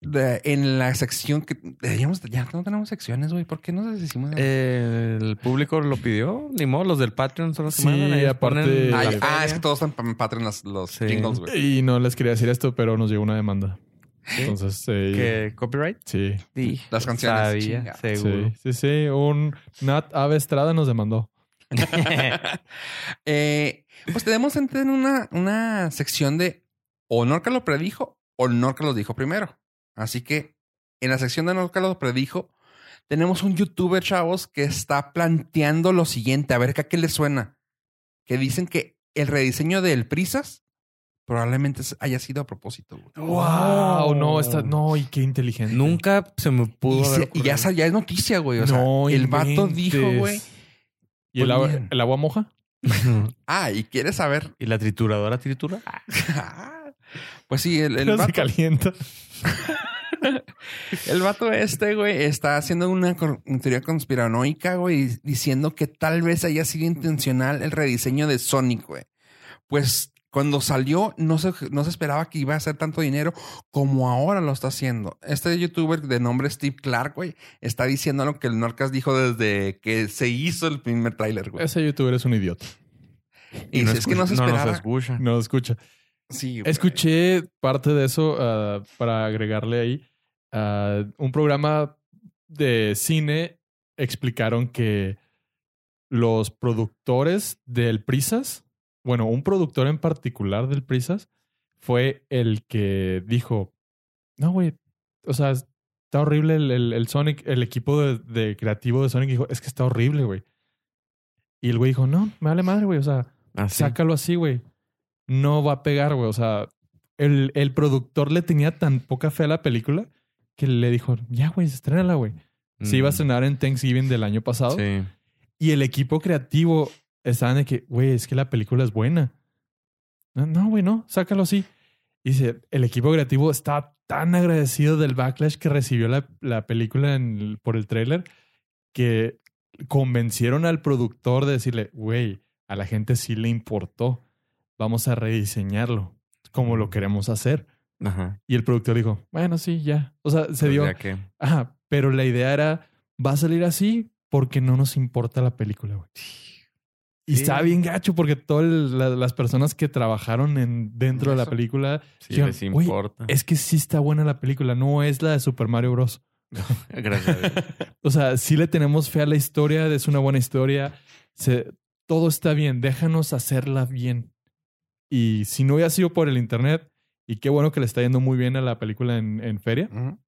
de- en la sección que deberíamos, ya no tenemos secciones, güey. ¿Por qué nos deshicimos? de- Eh, el público lo pidió. Ni modo, los del Patreon solo se Sí, mandan, ellos aparte- ponen la Ay, feria. ah, es que todos están en Patreon las- los Sí. jingles, (laughs) güey. Y no les quería decir esto, pero nos llegó una demanda. ¿Sí? Entonces, eh, ¿Qué? ¿Copyright? sí. Sí. Las canciones, Sabía, chinga. seguro. Sí, sí, sí. Un Nat Ave Estrada nos demandó. (laughs) Eh, pues tenemos en una, una sección de o Norca lo predijo o Norca lo dijo primero. Así que en la sección de Norca lo predijo, tenemos un youtuber, chavos, que está planteando lo siguiente. A ver que a qué le suena. Que dicen que el rediseño del Prisas probablemente haya sido a propósito. güey. Oh, Wow, Ah, no, está, no, y qué inteligente. Nunca se me pudo Y, haber se- y ya, ocurrido. sa- ya es noticia, güey. O sea, No el vato inventes. dijo, güey. pues, ¿Y el agua, Ponían. el agua moja? Ah, y quieres saber. (laughs) ¿Y la trituradora tritura? Ah, pues sí, el, el No (laughs) se vato- calienta. El vato este, güey, está haciendo una cor- teoría conspiranoica, güey, diciendo que tal vez haya sido intencional el rediseño de Sonic, güey. Pues cuando salió, no se, no se esperaba que iba a hacer tanto dinero como ahora lo está haciendo. Este youtuber de nombre Steve Clark, güey, está diciendo lo que el Norcas dijo desde que se hizo el primer tráiler, güey. Ese youtuber es un idiota. Y dice, es que no se escucha- esperaba. nos escucha. No lo escucha. Sí, güey. Escuché parte de eso ah, para agregarle ahí. ah, un programa de cine explicaron que los productores del Prisas, bueno, un productor en particular del Prisas, fue el que dijo, no, güey, o sea, está horrible el, el- el Sonic, el equipo de, de creativo de Sonic dijo, es que está horrible, güey. Y el güey dijo, no, me vale madre, güey, o sea, Así. sácalo así, güey. No va a pegar, güey. O sea, el, el productor le tenía tan poca fe a la película que le dijo, ya, güey, estrenala, güey. Se iba a estrenar en Thanksgiving del año pasado. Mm. Sí. Y el equipo creativo estaban de que, güey, es que la película es buena. No, no, güey, no, sácalo así. Dice, el equipo creativo está tan agradecido del backlash que recibió la, la película en el- por el tráiler que convencieron al productor de decirle, güey, a la gente sí le importó. Vamos a rediseñarlo como lo queremos hacer. Ajá. Y el productor dijo, bueno, sí, ya. O sea, se Pues dio. ya que- Ajá, pero la idea era, va a salir así porque no nos importa la película, güey. Y Sí. estaba bien gacho porque todas la- las personas que trabajaron en, dentro de la Eso. película, Sí, Dijeron, les "Güey, importa. es que sí está buena la película, no es la de Super Mario Bros. Gracias. (laughs) a Dios. O sea, sí le tenemos fe a la historia, es una buena historia, se- todo está bien, déjanos hacerla bien. Y si no hubiera sido por el internet, y qué bueno que le está yendo muy bien a la película en- en feria, Ujú.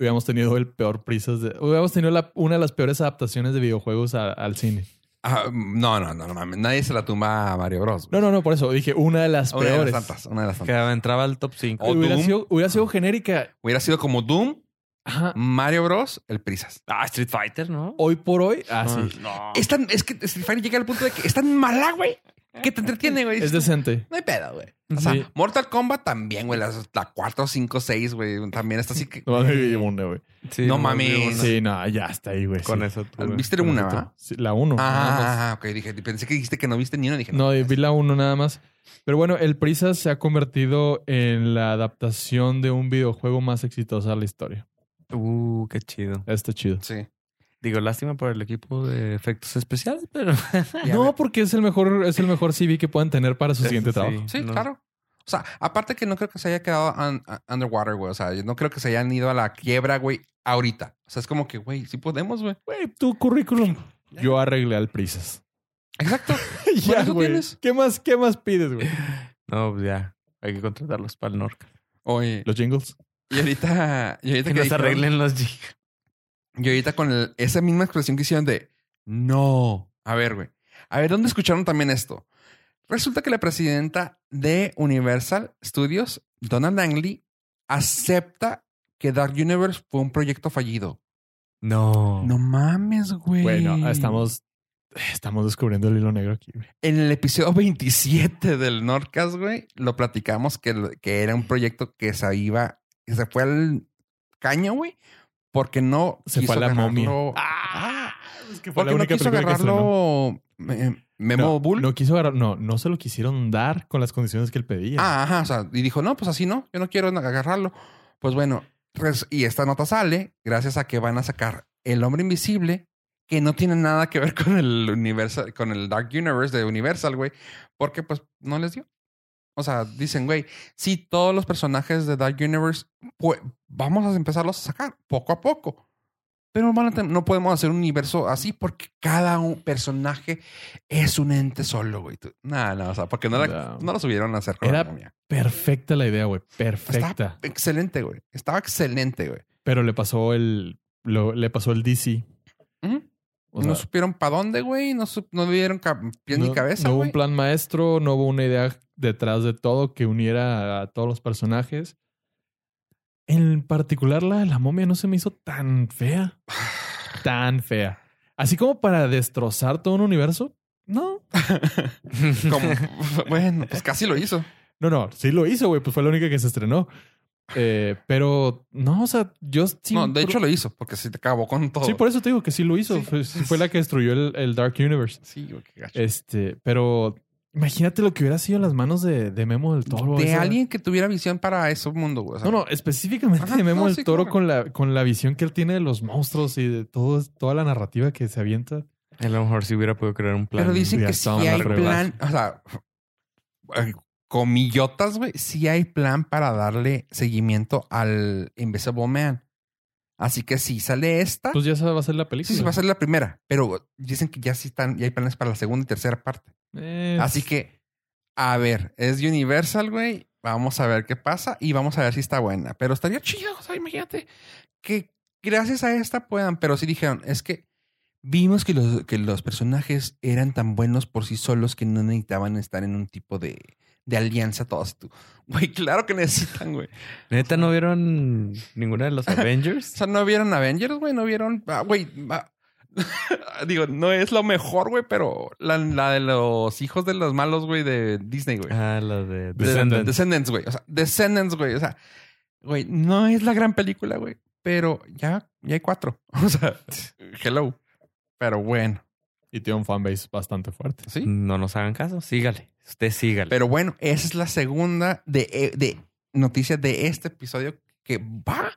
hubiéramos tenido el peor prisas de, hubiéramos tenido la- una de las peores adaptaciones de videojuegos a- al cine. Ah, no, no, no, no mames. Nadie se la tumba a Mario Bros. No, no, no, por eso dije una de las Una de las peores. tantas, una de las Que tantas. entraba al top 5. O hubiera, Doom. sido, hubiera sido genérica. Hubiera sido como Doom, Ajá. Mario Bros, el Prisas. Ah, Street Fighter, ¿no? Hoy por hoy, ah, así. Ah. No. Es, tan- es que Street Fighter llega al punto de que es tan mala, güey, que te entretiene, güey. es Dices, decente. No hay pedo, güey. O sea, Sí. Mortal Kombat también, güey. las- La 4, 5, 6, güey. También está así que. No, hay una, güey. Sí, No nomás mames. vi una. Sí, no, ya está ahí, Ah, güey. Con sí. eso tuve. ¿Viste Con una, eso verdad? tú- sí, la uno. Ah, ok. Dije, pensé que dijiste que no viste ni una. Dije, No, no. vi la 1 nada más. Pero bueno, el Prisa se ha convertido en la adaptación de un videojuego más exitosa de la historia. Uh, qué chido. Está chido. Sí. Digo, lástima por el equipo de efectos especiales, pero. Ya Ah, no, ve- porque es el mejor, es el mejor CV que puedan tener para su Eso siguiente (laughs) sí. trabajo. Sí, No. claro. O sea, aparte que no creo que se haya quedado un- a- underwater, güey. O sea, yo no creo que se hayan ido a la quiebra, güey, ahorita. O sea, es como que, güey, sí podemos, güey. Güey, tu currículum. Yo arreglé al Prisas. Exacto. (laughs) ya, eso güey. tienes. ¿Qué más, qué más pides, güey? No, pues ya. Hay que contratarlos para el Norca. Oye, Los jingles. y ahorita. Y ahorita Que nos dijeron- arreglen los jingles. Y ahorita con el- esa misma expresión que hicieron de no. A ver, güey. A ver, ¿dónde escucharon también esto? Resulta que la presidenta de Universal Studios, Donna Langley, acepta que Dark Universe fue un proyecto fallido. No. No mames, güey. Bueno, estamos, estamos descubriendo el hilo negro aquí, güey. En el episodio 27 del Nordcast, güey, lo platicamos que, lo- que era un proyecto que se iba, que se fue al caño, güey, porque no Se fue a la momia. Ah, Es que porque no quiso agarrarlo eh, Memo no, Bull. no quiso agarrar, no, no se lo quisieron dar con las condiciones que él pedía. Ah, ajá, o sea, y dijo, no, pues así no, yo no quiero agarrarlo. Pues bueno, res- y esta nota sale gracias a que van a sacar El Hombre Invisible, que no tiene nada que ver (laughs) con el universo, con el Dark Universe de Universal, güey, porque pues no les dio. O sea, dicen, güey, sí, todos los personajes de Dark Universe, pues vamos a empezarlos a sacar poco a poco. Pero van a ten- no podemos hacer un universo así porque cada un personaje es un ente solo, güey. Tú- No, no, o sea, porque no, la- No. no lo subieron a hacer con Era- la momia. Perfecta la idea, güey. Perfecta. Está excelente, güey. Estaba excelente, güey. Pero le pasó el. lo- le pasó el DC. Ujú. O no sea, supieron para dónde, güey. No, su- no dieron ca- pies ni no- cabeza, No hubo güey. un plan maestro, no hubo una idea detrás de todo que uniera a todos los personajes. En particular, la de la momia no se me hizo tan fea. (sighs) Tan fea. Así como para destrozar todo un universo. No. Como- (laughs) bueno, pues casi lo hizo. No, no. Sí lo hizo, güey. Pues fue la única que se estrenó. Eh, pero no, o sea, yo sí- no, de hecho lo hizo, porque se te acabó con todo. Sí, por eso te digo que sí lo hizo. Sí. Fue, fue la que destruyó el- el Dark Universe. Sí, güey, qué gacho. Este, pero imagínate lo que hubiera sido en las manos de, de Memo del Toro. de esa- alguien que tuviera visión para ese mundo, güey. O sea, No, no, específicamente Ajá, de Memo no, del sí, Toro claro. con, la, con la visión que él tiene de los monstruos y de todo, toda la narrativa que se avienta. A lo mejor si hubiera podido crear un plan. Pero dicen ya que si estaban hay arreglados. plan, o sea, ay, comillotas, güey, si hay plan para darle seguimiento al Invisible Man. Así que si sale esta, Pues ya esa va a ser la película. sí, sí va a ser la primera, pero dicen que ya sí están, ya hay planes para la segunda y tercera parte. Eh, Así que, a ver, es Universal, güey. Vamos a ver qué pasa y vamos a ver si está buena. Pero estaría chido, o sea, imagínate que gracias a esta puedan. Pero sí dijeron, es que vimos que los, que los personajes eran tan buenos por sí solos que no necesitaban estar en un tipo de, de alianza todos tú. (laughs) Güey, claro que necesitan, güey. Neta, no vieron ninguna (laughs) de los O Avengers. sea, no vieron Avengers, güey, no vieron. ah, Güey, ah, (laughs) digo, no es lo mejor, güey, pero la, la de los hijos de los malos, güey, de Disney, güey. ah, la de Descendants. Descendants. güey. O sea, Descendants, güey. O sea, güey, no es la gran película, güey. Pero ya, ya hay cuatro. (laughs) O sea, hello. Pero bueno, Y tiene un fanbase bastante fuerte. sí. No nos hagan caso. Sígale. Usted sígale. Pero bueno, esa es la segunda de, eh, de noticias de este episodio que va.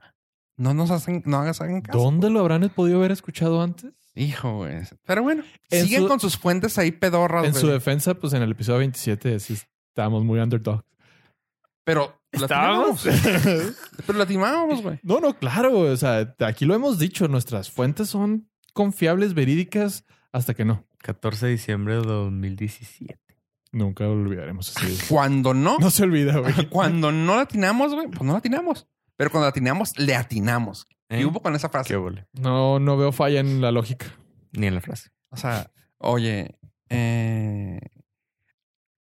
No nos hacen, no hagas hagan caso. ¿Dónde lo habrán podido haber escuchado antes? Hijo, güey. Pero bueno, En siguen su- con sus fuentes ahí pedorras, En su güey. defensa, pues en el episodio 27 sí estábamos muy underdog. Pero la ¿Estábamos? (laughs) timamos. Pero la timamos, güey. No, no, claro. O sea, aquí lo hemos dicho. Nuestras fuentes son confiables, verídicas, hasta que no. 14 de diciembre de 2017. Nunca olvidaremos ese día. Cuando no, No se olvida, güey. cuando no la atinamos, güey, pues no la atinamos. Pero cuando la atinamos, le atinamos. ¿Eh? Y hubo con esa frase. Qué vole. No, no veo falla en la lógica. Ni en la frase. O sea, Oye, eh,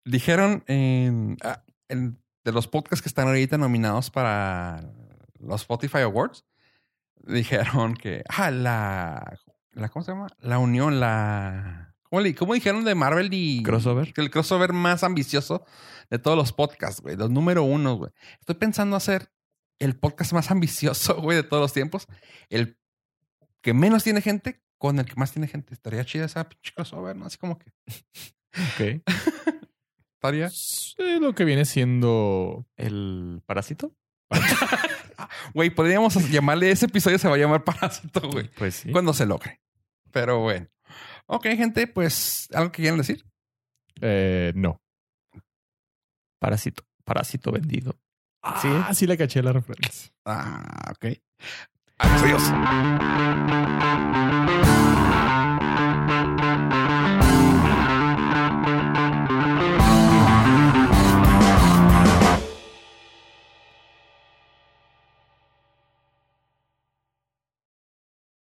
dijeron en- ah, en- de los podcasts que están ahorita nominados para los Spotify Awards, (laughs) dijeron que, ah, la, la ¿cómo se llama? La unión, la... ¿Cómo, le- cómo dijeron de Marvel y... Crossover. El crossover más ambicioso de todos los podcasts, güey. Los número uno, güey. Estoy pensando hacer el podcast más ambicioso, (laughs) güey, de todos los tiempos. El que menos tiene gente con el que más tiene gente. Estaría chida esa pinche crossover, ¿no? Así como que Ok. estaría. Sí, lo que viene siendo. ¿El parásito? Güey, podríamos (laughs) llamarle ese episodio, se va a llamar Parásito, güey. Pues sí. Cuando se logre. Pero bueno. Ok, gente, pues, ¿algo que quieran decir? eh, no. Parásito. Parásito vendido. Ah, sí le caché la referencia. Ah, ok. Adiós.